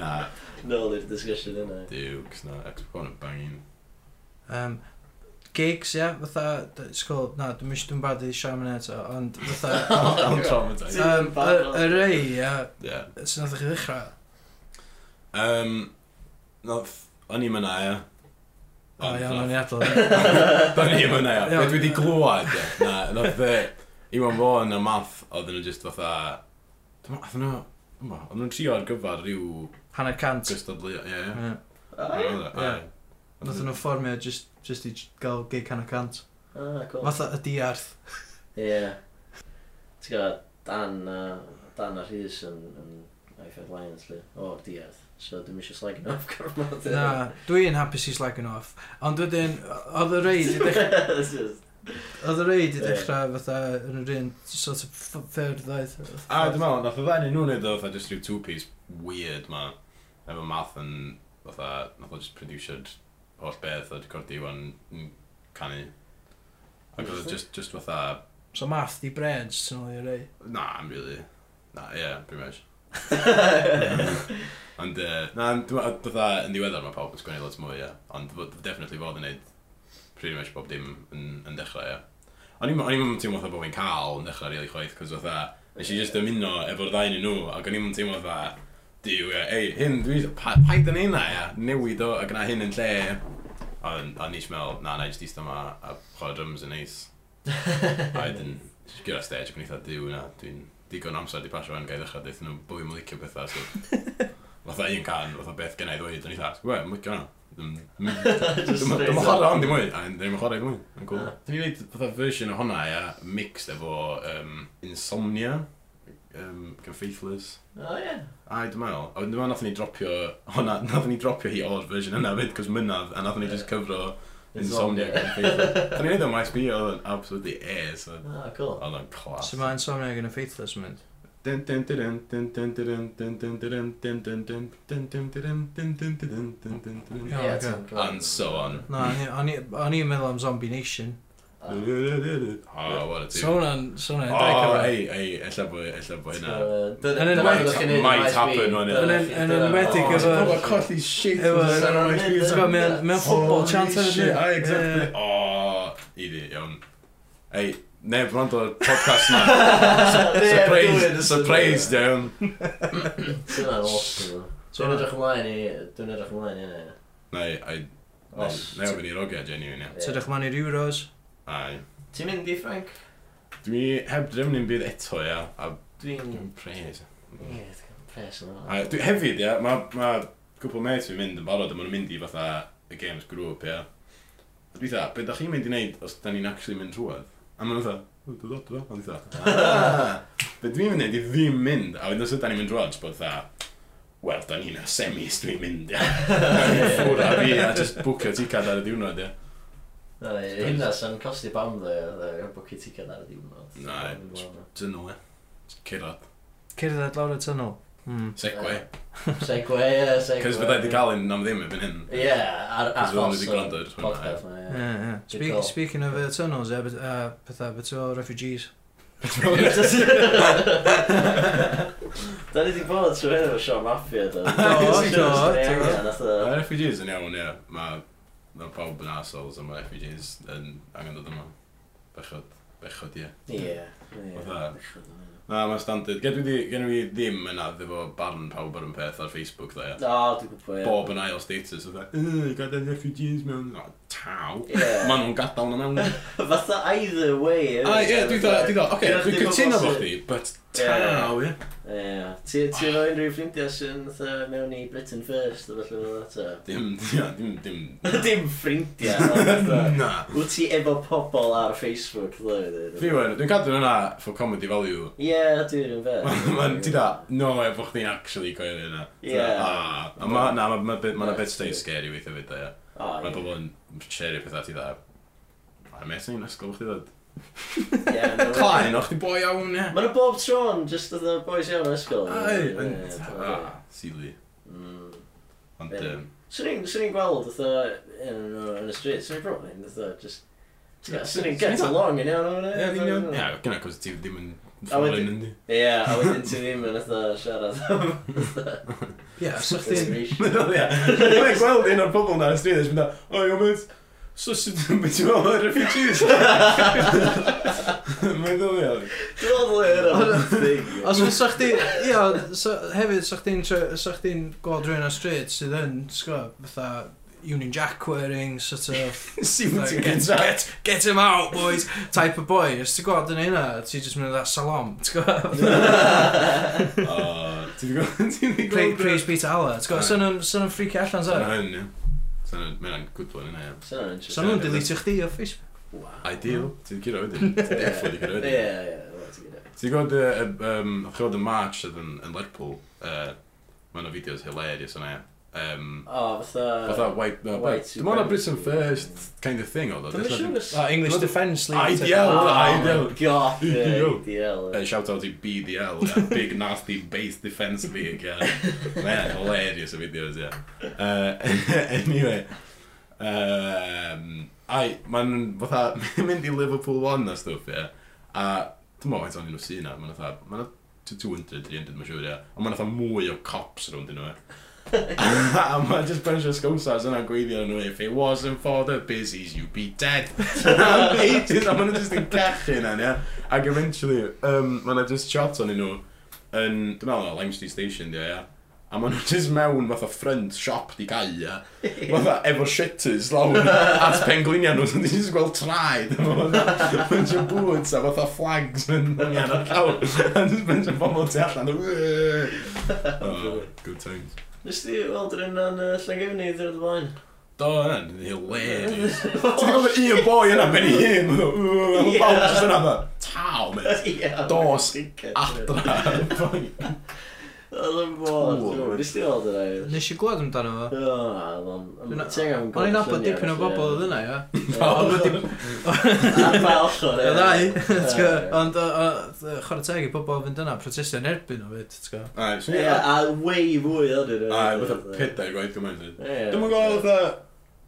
Na, Nôl i'r discussion yna. Dukes, na, Xbox One yn bangin. Um, gigs, ie, fatha, d- sgol, na, dwi'n mysio dwi'n bad i siarad mynd eto, ond fatha... I'm traumatised. um, y- y rei, ie, Ie. sy'n nath chi ddechrau? Um, noth, o'n i'n mynd ia. O, iawn, o'n i adlo. Do'n i yma na, ia. Iawn. Be dwi wedi glwad, ia. Na, nath e, Iwan Fawn a Math, oedden nhw just fatha... Dwi'n meddwl, oedden nhw... dwi'm yn gwbo, Oedden nhw'n trio ar gyfer rhyw Hanner cant. gystadlu... Ie, e, ie. Ie. Ah, Ie. Ie. Nath e- nhw fformio just, just i j- gael gig hanner cant. ah, cool. Fatha y diarth. Ie. Ti'n gwybod, Dan a... Dan a Rhys yn... yn Eiffel Lions, li. O, diarth. So, dwi'n eisiau slagging off gormod. Na, dwi'n hapus i slagging off. Ond wedyn, oedd y rei, di dech- It's just- oedd y rei di Ie. dechrau fatha yn yr un sort of ff- ffyrdd oedd. A dwi'n meddwl, nath o ddau nhw'n neud o fatha just rhyw two-piece weird ma. Efo math yn fatha, nath o just producered holl beth a recordi wan yn canu. Ac oedd o just, just fatha, So math di brains, sy'n ôl i rei. na, I'm really, na, ie, yeah, pretty much. Ond, uh, na, dwi'n meddwl, fatha, yn ddiweddar mae pawb yn sgwennu lot mwy, ie. Ond fo- definitely fod yn neud pretty much bob dim yn, yn dechrau, ie. O'n i'm- o'n i'n teimlo fatha bod fi'n cael yn dechrau rili chwaith, cos fatha, nes i just ymuno efo'r ddau yn nhw, ac o'n i'n teimlo fatha, diw, ie, ei, hyn, dwi, pa- paid yn hynna, ie, newid o, ac yna hyn yn lle, ie. Ond o'n i'n meddwl, na, na, i just eistedd yma, a chwarae drums yn neis. A wedyn, gyda stage, ac o'n i'n eitha, diw, na, dwi'n digon o amser di pasio fan, gael ddechrau, deithio nhw, bwy yn licio bethau, so Fatha un can, fatha beth gennau ddweud, o'n i dda, we, mwyn gana. Just Dwi'n straight up. chwarae ond i mwy, a ddim yn chwarae i mwy. Yn cool. Dwi'n gwneud fatha version o hwnna, ia, mixed efo um, Insomnia, um, gan Faithless. O, ie. A dwi'n meddwl, a dwi'n meddwl nath ni dropio, hwnna, nath ni dropio hi o'r version yna fyd, cos mynadd, a nath ni just cyfro Insomnia gan Faithless. Dwi'n gwneud o'n MySP, oedd yn absolutely air, so Ah, cool. oedd o'n class. So mae insomnia yn y faithless yn mynd. Dun, dun, dun, dun, dun, dun, dun, dun, dun, dun, dun, dun, dun, dun, dun, dun, dun, dun, dun, dun, dun. Ie, Ie, ocê. ti'n gwbod. And so on. Na, o'n i- o'n i- o'n i'n meddwl am Zombie Nation. Ah. Oh, what a So team. hwnna'n... So hwnna'n... Oh, ei, ei, ella bod, ella bod hynna. Dyna- Yn dyna enwedig- fyddwch chi'n neud yn might maes happen, fi. won't it? Dyna Yn en- chi- yn dyna- enwedig Oh, efo- it's not- colli shit. Efo- Ti'n gwbod, mae o'n- Mae'n football chant ar Oh, shit, ai, exactly. O, iddi, iawn. Ei, neb rand o'r podcast na. Surprise, surprise, iawn. Dyna'n awesome. So Dwi'n hwnna- edrych ymlaen i... Dwi'n edrych ymlaen i hynna. Neu, ai, Oh, Os- neu ofyn i'r ogia, genuine, ia. Ie. Tydych ma'n i'r Euros. Ai. Ti'n mynd i Frank? Dwi heb drefn i'n byd eto, ia. A Dwi'n... dwi'n praise. Ie, dwi'n pres yn A dwi hefyd, ia, mae ma cwpl mates fi'n mynd yn barod a maen nhw'n mynd i fatha y games grŵp, ia. A dwi dda, beth da chi'n mynd i wneud os da ni'n actually mynd trwad? A maen nhw'n dda, o, do, do, do, ond dda. "Ah." Be dwi'n mynd i wneud i ddim mynd, a wedyn os da ni'n mynd trwad, bod dda, wel, da ni'n a semis dwi'n mynd, ia. Ffwr a fi, a just bwcio ticad ar y diwrnod, ia. Hynna sy'n costi bam dde, dde, bwci ticad ar y diwrnod. Na, Dynol, ia. Cerad. Cerdded lawr y tunnel. Hmm. Segway. Segwe, ie, segwe. Cos bydda i wedi cael un am ddim erbyn hyn. Ie, ar Cos fydda i achos wedi o'r gwrando ar hwnna, podcast Ie, ma, ie. Good Speak- call. Speaking of uh, tunnels, e, but, uh, pethau, beth o refugees. Da ni wedi bod trwy hyn efo Sean Mafia, da. Do, do, do. Mae refugees yn iawn, ie. Mae ma pawb yn assholes a mae refugees yn angen dod yma. Bechod, bechod, ie. Ie, Fatha. ie. Na, mae standard. Gen i gen i ddim yna efo barn pawb ar un peth ar Facebook, dda, ie. O, dwi'n gwybod, ie. Bob yn ail status, oedd e, "Yy, gadael refugees mewn, o, taw. Ie. Maen nhw'n gadael na mewn. Fatha either way. e, A Ah, ie, dwi dda, dwi dda, oce, Dyna dwi'n chdi cytuno pobl fo sy- chdi, but taw, ie. Ie. Ti ti efo unrhyw ffrindiau sy'n fatha mewn i Britain First a felly fel eto? Dim, ie, dim, dim. Dim ffrindiau. ond fatha, Na. Wyt ti efo pobl ar Facebook dwi? Fi wen, dwi'n cadw hwnna for comedy value. Ie, dwi'n yn fe. Mae'n ti da, no e, bod chdi'n actually coel yna. Ie. Ah, a ma, na, mae'n ma, bit- ma, ma bit stay scary weithio fyd, ie. O, Mae ie. pobl yn share pethau ti da. A mes ni'n ysgol chdi ddod. Ie, ma'n- Claen, o'ch ti boi iawn, ie. Ma'n y bob tro'n just oedd y boys iawn o ysgol. Ai, Ie, yn... ie, Ah, sili. Mm. Ond, Ie. yym, Swn i'n swn i'n gweld fatha yn yn y street, swn i'n probably yn fatha just Swn i'n get along yn iawn Ie, o'n fi'n iawn. Ie, gyna, cos ti ddim yn A wedyn- ffordd yn di. Ie, a wedyn ti ddim yn eitha siarad am Ie, os ydych chi'n... inspiration. Ie, dwi'n gweld un o'r pobol na, ysdyn, dwi'n mynd, o, yw'n mynd, so sydd yn mynd i fel o'r refugees. Mae'n ddoliad. Dwi'n meddwl bod hynna'n thing. Os fysa chdi, ia, sa- hefyd, sa chdi'n trio- sa chdi'n gweld rhywun ar stryd sydd yn, sgwa, fatha, Union Jack wearing, sort of, Siw like, ti'n get, get, get him out, boys, type of boy. Os ti'n gweld yn hynna, ti'n just mynd that salon, ti'n gweld? O, ti'n gweld? Ti'n Pra- gweld? Praise Peter Allah, ti'n gweld, sy'n nhw'n freaky allan, Sa'n sa? hyn, ie. Sa'n hyn, good one, yna, ie. Swn i'n Sy'n nhw'n delete chdi o Facebook. Ideal. Ti'n gyda wedyn. Ti'n definitely gyda Mm. Ie, ie, wedyn. ie, ti'n gwybod. Ti'n gwybod, uh, um, o'ch gweld y march sydd yn, yn Lerpwl, uh, mae'n o fideos hilarious yna. Um, O, fatha... Fatha white, uh, White white dim ond a Britain supremacy. first kind of thing oedd o. Dwi'n There's siŵr nothing- os... Uh, English Bloody- Defence Ah, League. type yeah, of- well, Oh my ideal. God, Ideal. ie, ideal. Uh, shout out i BDL, yeah, Big Nasty Base Defence League, yeah. Mae'n hilarious o fideos, yeah. Uh, anyway, um, ai, mae'n fatha, mynd i Liverpool 1 a stwff, yeah. A, dim ond faint o'n nhw sy'n na, mae'n fatha, mae'n 200, 300, mae'n siŵr, yeah. Ond mae'n fatha mwy o cops rownd i nhw, yeah. a mae'n just bunch of scowsars yna'n gweithio nhw If it wasn't for the busies, you'd be dead Am ages, a mae'n just yn cachu yna, ia Ac eventually, um, mae'n just shot o'n nhw Yn, dwi'n meddwl, Limestay Station, ia, ia A maen nhw just mewn fatha front shop di gau, ia Fatha, efo shutters lawr At penglinia nhw, so dwi'n just gweld traed Efo fatha bunch of boots a fatha flags Yn ymwneud â'r llawr A just bunch of bobl tu allan "Wee." Oh, Good times Nes ti weld yr un o'n uh, Llangefni ddod o blaen? Do, yna'n hilarious. Ti'n gwybod un boi yna ben i hyn? Mae'n bawb jyst yna dda. Taw, mate. Ia, Dos, dickhead. Adra. fucking. Oedd yn bod, Cool. dwi'n- nes ti weld yr un? Nes i gweld amdano fo. O, on. Dwi'n- Ti'n angen O'n i'n nabod dipyn o bobl oedd yna, ia. Pawb Oedd yn... A pa ochr, Y ie. ddau, Ie. ti'n gwbod, ond o- o- chwarae teg i pobl fynd yna protestio yn erbyn o fyd, ti'n gwbod. Ai, swn Ie, i'n a way fwy oedd yn... Ai, fatha pedair gwaith gymaint. oedd. Ie. Dwi'm yn gwybod, fatha...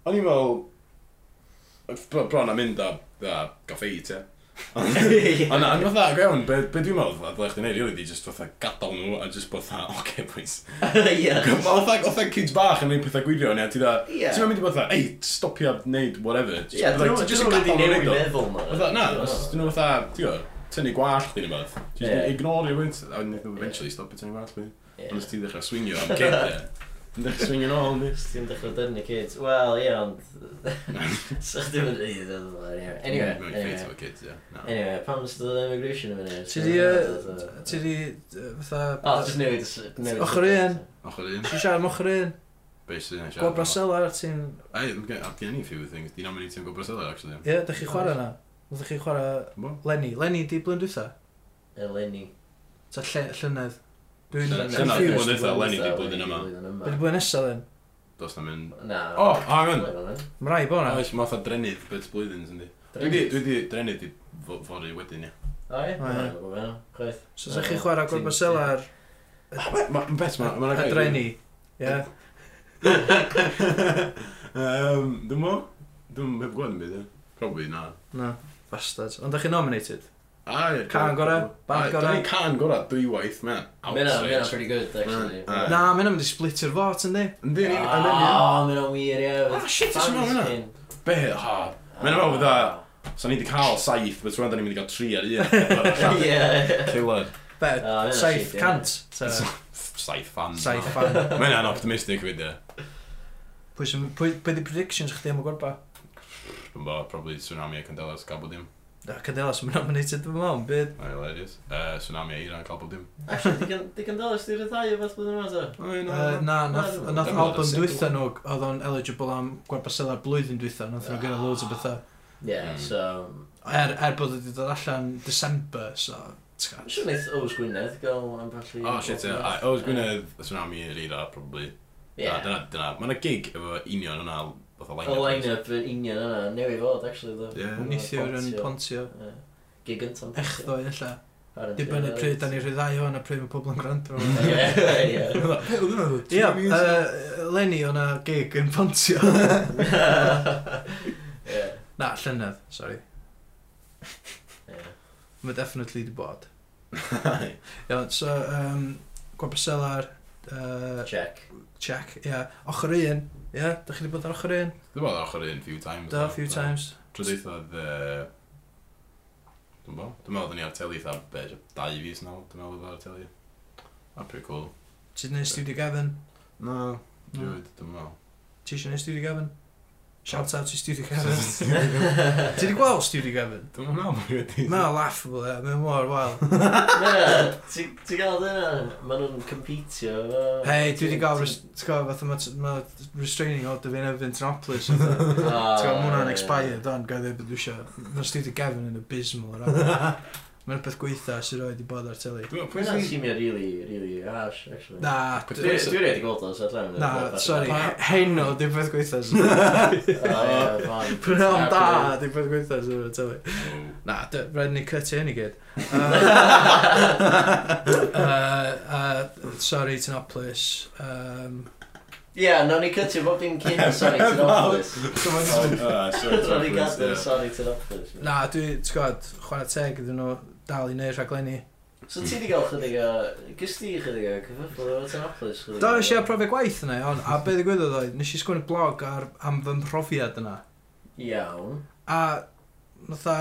O'n i'n fel... bro- Bron am mynd a... a goffi, te. Ie. Ond na, yn fatha, go iawn, be, be dwi'n meddwl, fatha, ddech chi'n neud, really, di just fatha gadael nhw, a just fatha, oce, boys, Ie. Oedd oedd kids bach yn gwneud pethau gwirio ni, a ti da... Ie. Ti'n mynd i bod fatha, ei, stopio wneud whatever. Just Ie, dwi'n be like, meddwl- just dwi'n meddwl gadael nhw wedi wneud o. newid meddwl, man. Fatha, na, os dyn nhw fatha, ti'n gwybod, tynnu gwallt i'n yma. Ie. Just ignore you, wynt. A wnaeth nhw eventually stopio tynnu gwallt i'n yma. Ie. Ond os ti ddechrau swingio am kid e. Yn dechrau swingio nôl, ni. Os ti'n dechrau dyrnu kids? Wel, ie, ond... So chdi'n mynd i ddod o fo, anyway. Anyway, Mae'n ffeit anyway. efo kids, ie. Na. Anyway, pam nes dod immigration yn fyny? Ti di, yy, ti di, yy, O, jyst fatha... newid... y s- newid y Ochr subject. Ochr un, Ti'n siarad am ochr un, beis un. gweld Brasela, ti'n... Ei, I've gen i few things. Di na'n mynd i ti'n gwybod Brasela, actually. Ie, dych chi chwarae yna? Ydych chi chwarae Bo? Lenny? Lenny di blwyddyn dwytha? Eleni. Ta lle, llynedd? Dwi'n Llynedd. confused. Llynedd, blwyddyn dwytha, Eleni 'di blwyddyn yma. Be di blwyddyn nesa then? Dos na'n mynd... Na. O, hang on. Mae rai bo na. Oes, mae fatha drenydd bits blwyddyn, yndi. Dwi di, dwi di drenydd i fo- fory wedyn, ie. O, ie? O, ie. Na, bo' fe, no. Chwaith. So ydych chi chwarae gweld Brasela ar Mae'n bet, mae'n ar dreni? Ie. Dwi'n mo? Dwi'n heb gwybod yn byd, ie. Probably na. Na. Bastards. Ond dych chi nominated? Ah, ie. Can gorau? Bad Ai, gorau? Dwi'n can gorau dwywaith, man. Mae hynna- mae hynna'n pretty good, actually. Ah, Mm, Na, mae hynna'n mynd i splitio'r fort yndi? Ynddi, yn un... O, mae hynna'n wir, ie. Ah, shit, it's wrong, Fans hwnna. cyn. Be, ha. Mae hynna'n meddwl fydda- So ni wedi cael saith, beth rwan da ni'n mynd i gael tri ar un. Ie. Killer. Be, O, hynna'n saith shit, ie. cant? Ta, Saith fan. Saith fan. Mae hynna'n optimistic fyd, ie. Pwy sy'n... Pwy, pwy di predictions chdi am y gorba? Dwi'n bo, probably tsunami a candelas gael bod dim. Na, Cadelas, mae'n nominated dwi'n meddwl, byd. Mae'n hilarious. Uh, tsunami a Iran gael bod dim. Actually, digon- digon dollars di'r rhai o beth blwyddyn yma, so. Mae'n Uh, na, nath, na, nath na, album na, dwytha nhw, oedd o'n eligible am gwerth baselar blwyddyn dwytha, nath nhw gyda loads o Ah. bethau. Ie, Mm. so, Er, er bod wedi dod allan December, so... ti'n I'm gwbod. sure neith Ows Gwynedd gael ambell i... Oh shit, ie. Yeah. Oes Gwynedd, y tsunami i'r eira, probably. Ie. Yeah. Dyna, dyna. Mae yna gig efo union yna, fatha Y line-up. line-up yn union yna, newi fod, actually, ddo. Ie. Neithiwr yn Pontio. Ie. Gig gyntaf. yn Pontio. Echddoe, illa. Apparently, Dibynnu right. pryd, da ni rhyddai o'n a pryd mae pobl yn gwrando. Ie, ie. Ia, Lenny o'n a gig yn Pontio. Ie. Na, llynedd, sorry. Ie. Mae definitely di bod. Aye. Iawn, so, um, Gwabaselar, uh, Check. check, ie. Yeah. Ochr un, ie, yeah, da chi di bod ar ochr un? Dwi'n bod ar ochr un few times. Da, though. few So, times. Trwy ddeitha dde... Dwi'n bo? Dwi'n meddwl, dyn ni ar teli eitha be, jyst dau fis nawr, dwi'n meddwl bod ar teli. A pretty cool. Ti di neud studio Gavin? No, No. dwi'n dwi'n meddwl. Ti eisiau neud studio Gavin? Shout out to studio Gavin. Ti di gweld studio Gavin? Dwi'n meddwl, mae wedi... Mae'n laughable, ie, mae'n mor wael. Na, ti ti gael dyna? Maen nhw'n competio efo... Hei, dwi wedi gael, Ti- res- ti'n gael, fatha ma- ma restraining order fi'n efo Vintropolis. Ti'n gael, Ah, ma ie. hwnna'n expired, ond gael ei bod dwi eisiau. Mae'n studio Gavin yn abysmal, right? Mae'n peth gweitha sy'n rhoi di bod ar teli. Dwi'n Pwy na'n meddwl, simio really, really harsh, actually. Na, Pwy- Dwi d- dwi wedi gweld o, so allan. na, sorry, he- heno, dim peth gweitha sy'n Prynawn da, dim peth gweitha sy'n rhoi teli. Na, dy- rhaid ni cytu hyn i gyd. Uh, uh, uh, Sorry, Tenopolis. Um, Ie, no ni cytio bob dim cyn Sonic Tenopolis. Ah, sorry, Ro'n ni Tenopolis, gadw ie. Sonic Tenopolis. Na, dwi, ti'n gwybod, chwarae teg ydyn nhw dal i neud rhaglenni. So ti di gael chydig o... Gys ti chydig o cyfyffol efo Tenopolis? Do, nes i profiad gwaith yna, iawn, a be ddigwyddodd oedd, nes i sgwini blog ar, am fy mhrofiad yna. Iawn. A, notha,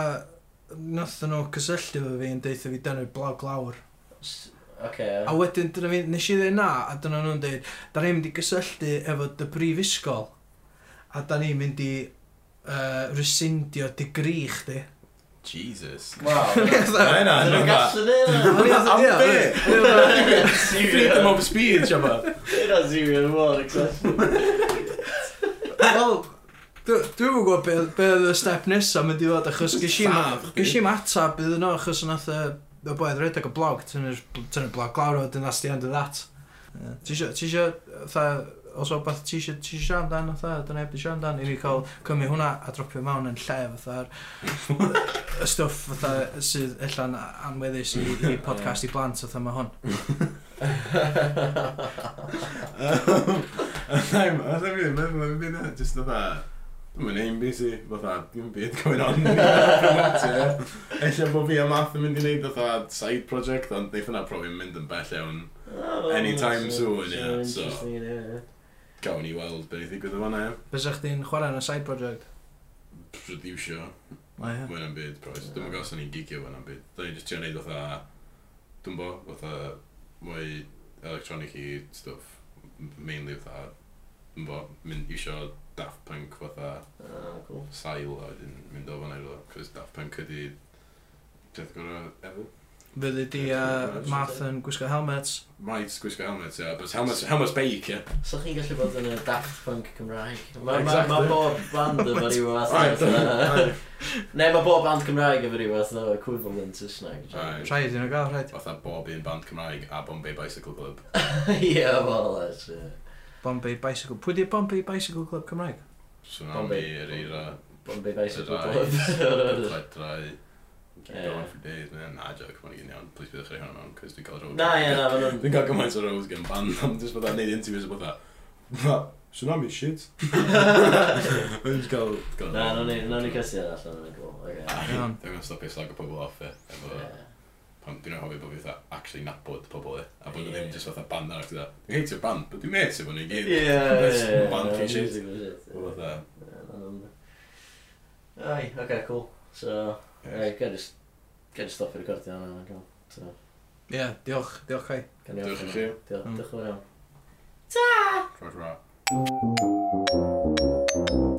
notha nhw cysylltu fo fi yn deitha fi dynnu'r blog lawr. S- Oce. A wedyn, dyna fi, nes i ddweud na, a dyna nhw'n dweud, da ni'n mynd i gysylltu efo dy brifysgol, a da ni'n mynd i uh, resyndio digri chdi. Jesus. Wow. Na, na, Dyn nhw'n na. gallu neud O'n i fatha, Am ie, be? o'n i- Freedom of speech, yma. Dyna'n serious mor exception. Wel, dw- dwi'm yn gwybod beth be oedd y step nesaf mynd i fod, achos gysi Lladd chdi. Gysi ma atab iddyn nhw, achos nath y y boi oedd redeg y blog, tynnu'r tynnu'r blog lawr o, dyna the end of that. Ie. Ti isio, ti isio, fatha, os o beth ti isio, ti isio siarad amdan, fatha, dyna eb di siarad amdan, i ni cael cymryd hwnna a dropio mewn yn lle, fatha, y stwff, fatha, sydd allan anweddus i, i podcast i blant, fatha, mae hwn. I'm, I don't really remember my bit that, just fatha, dwi'n mynd ein busy, fatha, dim byd going on. Ella bod fi a math yn mynd i wneud fatha side project, ond neith yna probably mynd yn bell iawn. Anytime soon, ie, so. Gawn ni weld beth i ddigwydd o fanna, ie. Bys chdi'n chwarae yn y side project? Producio, Mae mwy na'n byd, proes. Dwi'n mynd gos o'n i'n gigio mwy na'n byd. Da ni'n just trio wneud fatha, dwi'n bo, fatha, mwy electronic i stuff, mainly fatha, dwi'n bo, mynd isio Daft Punk fatha, Oh, sail a wedyn mynd o fan efo cos Daft Punk ydi peth gorau efo Fyddi di a Math yn gwisgo helmets. Right, gwisgo helmet, ie, but helmet's, helmet's beic, ie. So chi'n gallu bod yn y Daft Punk Cymraeg. Mae ma, ma Exactly. bob band efo rhyw Right, fath. right. Neu mae bob band Cymraeg efo rhyw fath o equivalent Saesneg. Right. Rhaid i nhw gael, rhaid. Fatha bob un band Cymraeg a Bombay Bicycle Club. Ie, wel, that's it. Bombay Bicycle. Pwy di Bombay Bicycle Club Cymraeg? Tsunami, Bombay. yr eira, Bombay y Bicycle rai, Club. cledrau. Ie. Going for days, man. Na, joke, mae'n gyn iawn. Please bydd eich rhaid hwnna mewn, cos dwi'n cael rhywbeth. Na, ie, na, maen nhw'n... Dwi'n cael gymaint o rhywbeth gen band, ond just bod neud interviews o bydda. Tsunami shit. Dwi'n just cael... Na, nawn ni- nawn ni cysi ar allan yn y gol. Oce. Iawn. Dwi'n gwneud stopio slag o pobl off e, efo... Ie. Pan dwi'n hoffi bod fi fatha actually nabod pobl e, a bod nhw Ie. ddim just fatha band arall gyda. Dwi'n heitio'r band, but dwi'n met efo nhw i Ie, gyd. ie, That's ie. band ie, fi shit. musical shit, ie. O fatha, Um, Ai, oce, cool. So, ie. ai, gan i s- gan i stopio recordio hwnna. yn y gol. So, Ie, yeah, diolch, diolch ai. gan i Diolch orffen o. i chi. Diolch- Mm. diolch yn fawr iawn. Roedd rhaid.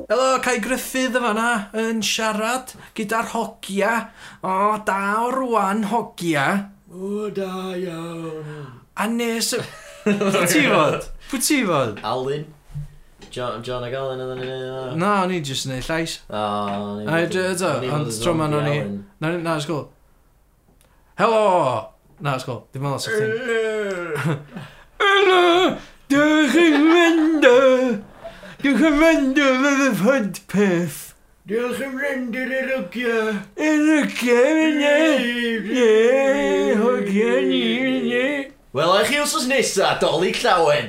Helo, Cai Griffith yma na, yn siarad gyda'r hogia. O, da o rwan hogia. O, da iawn. A nes... y- Pwy ti fod? Pwy ti fod? Alun. John, John ag Alun oedden ni'n neud Na, o'n i jyst yn neud llais. O, A i dweud eto, ond tro ma' nhw'n i- Na, na, ysgol. Helo! Na, ysgol, dim ond os o'ch ti'n. Helo! Dwi'n chi'n mynd o... Dwi'n chi'n mynd o fydd y podpeth. Diolch am rend i'r erwgia. Yn y gefn Ie, hogia ni, ie. Wel, eich i wsos nesa, Dolly Llawen.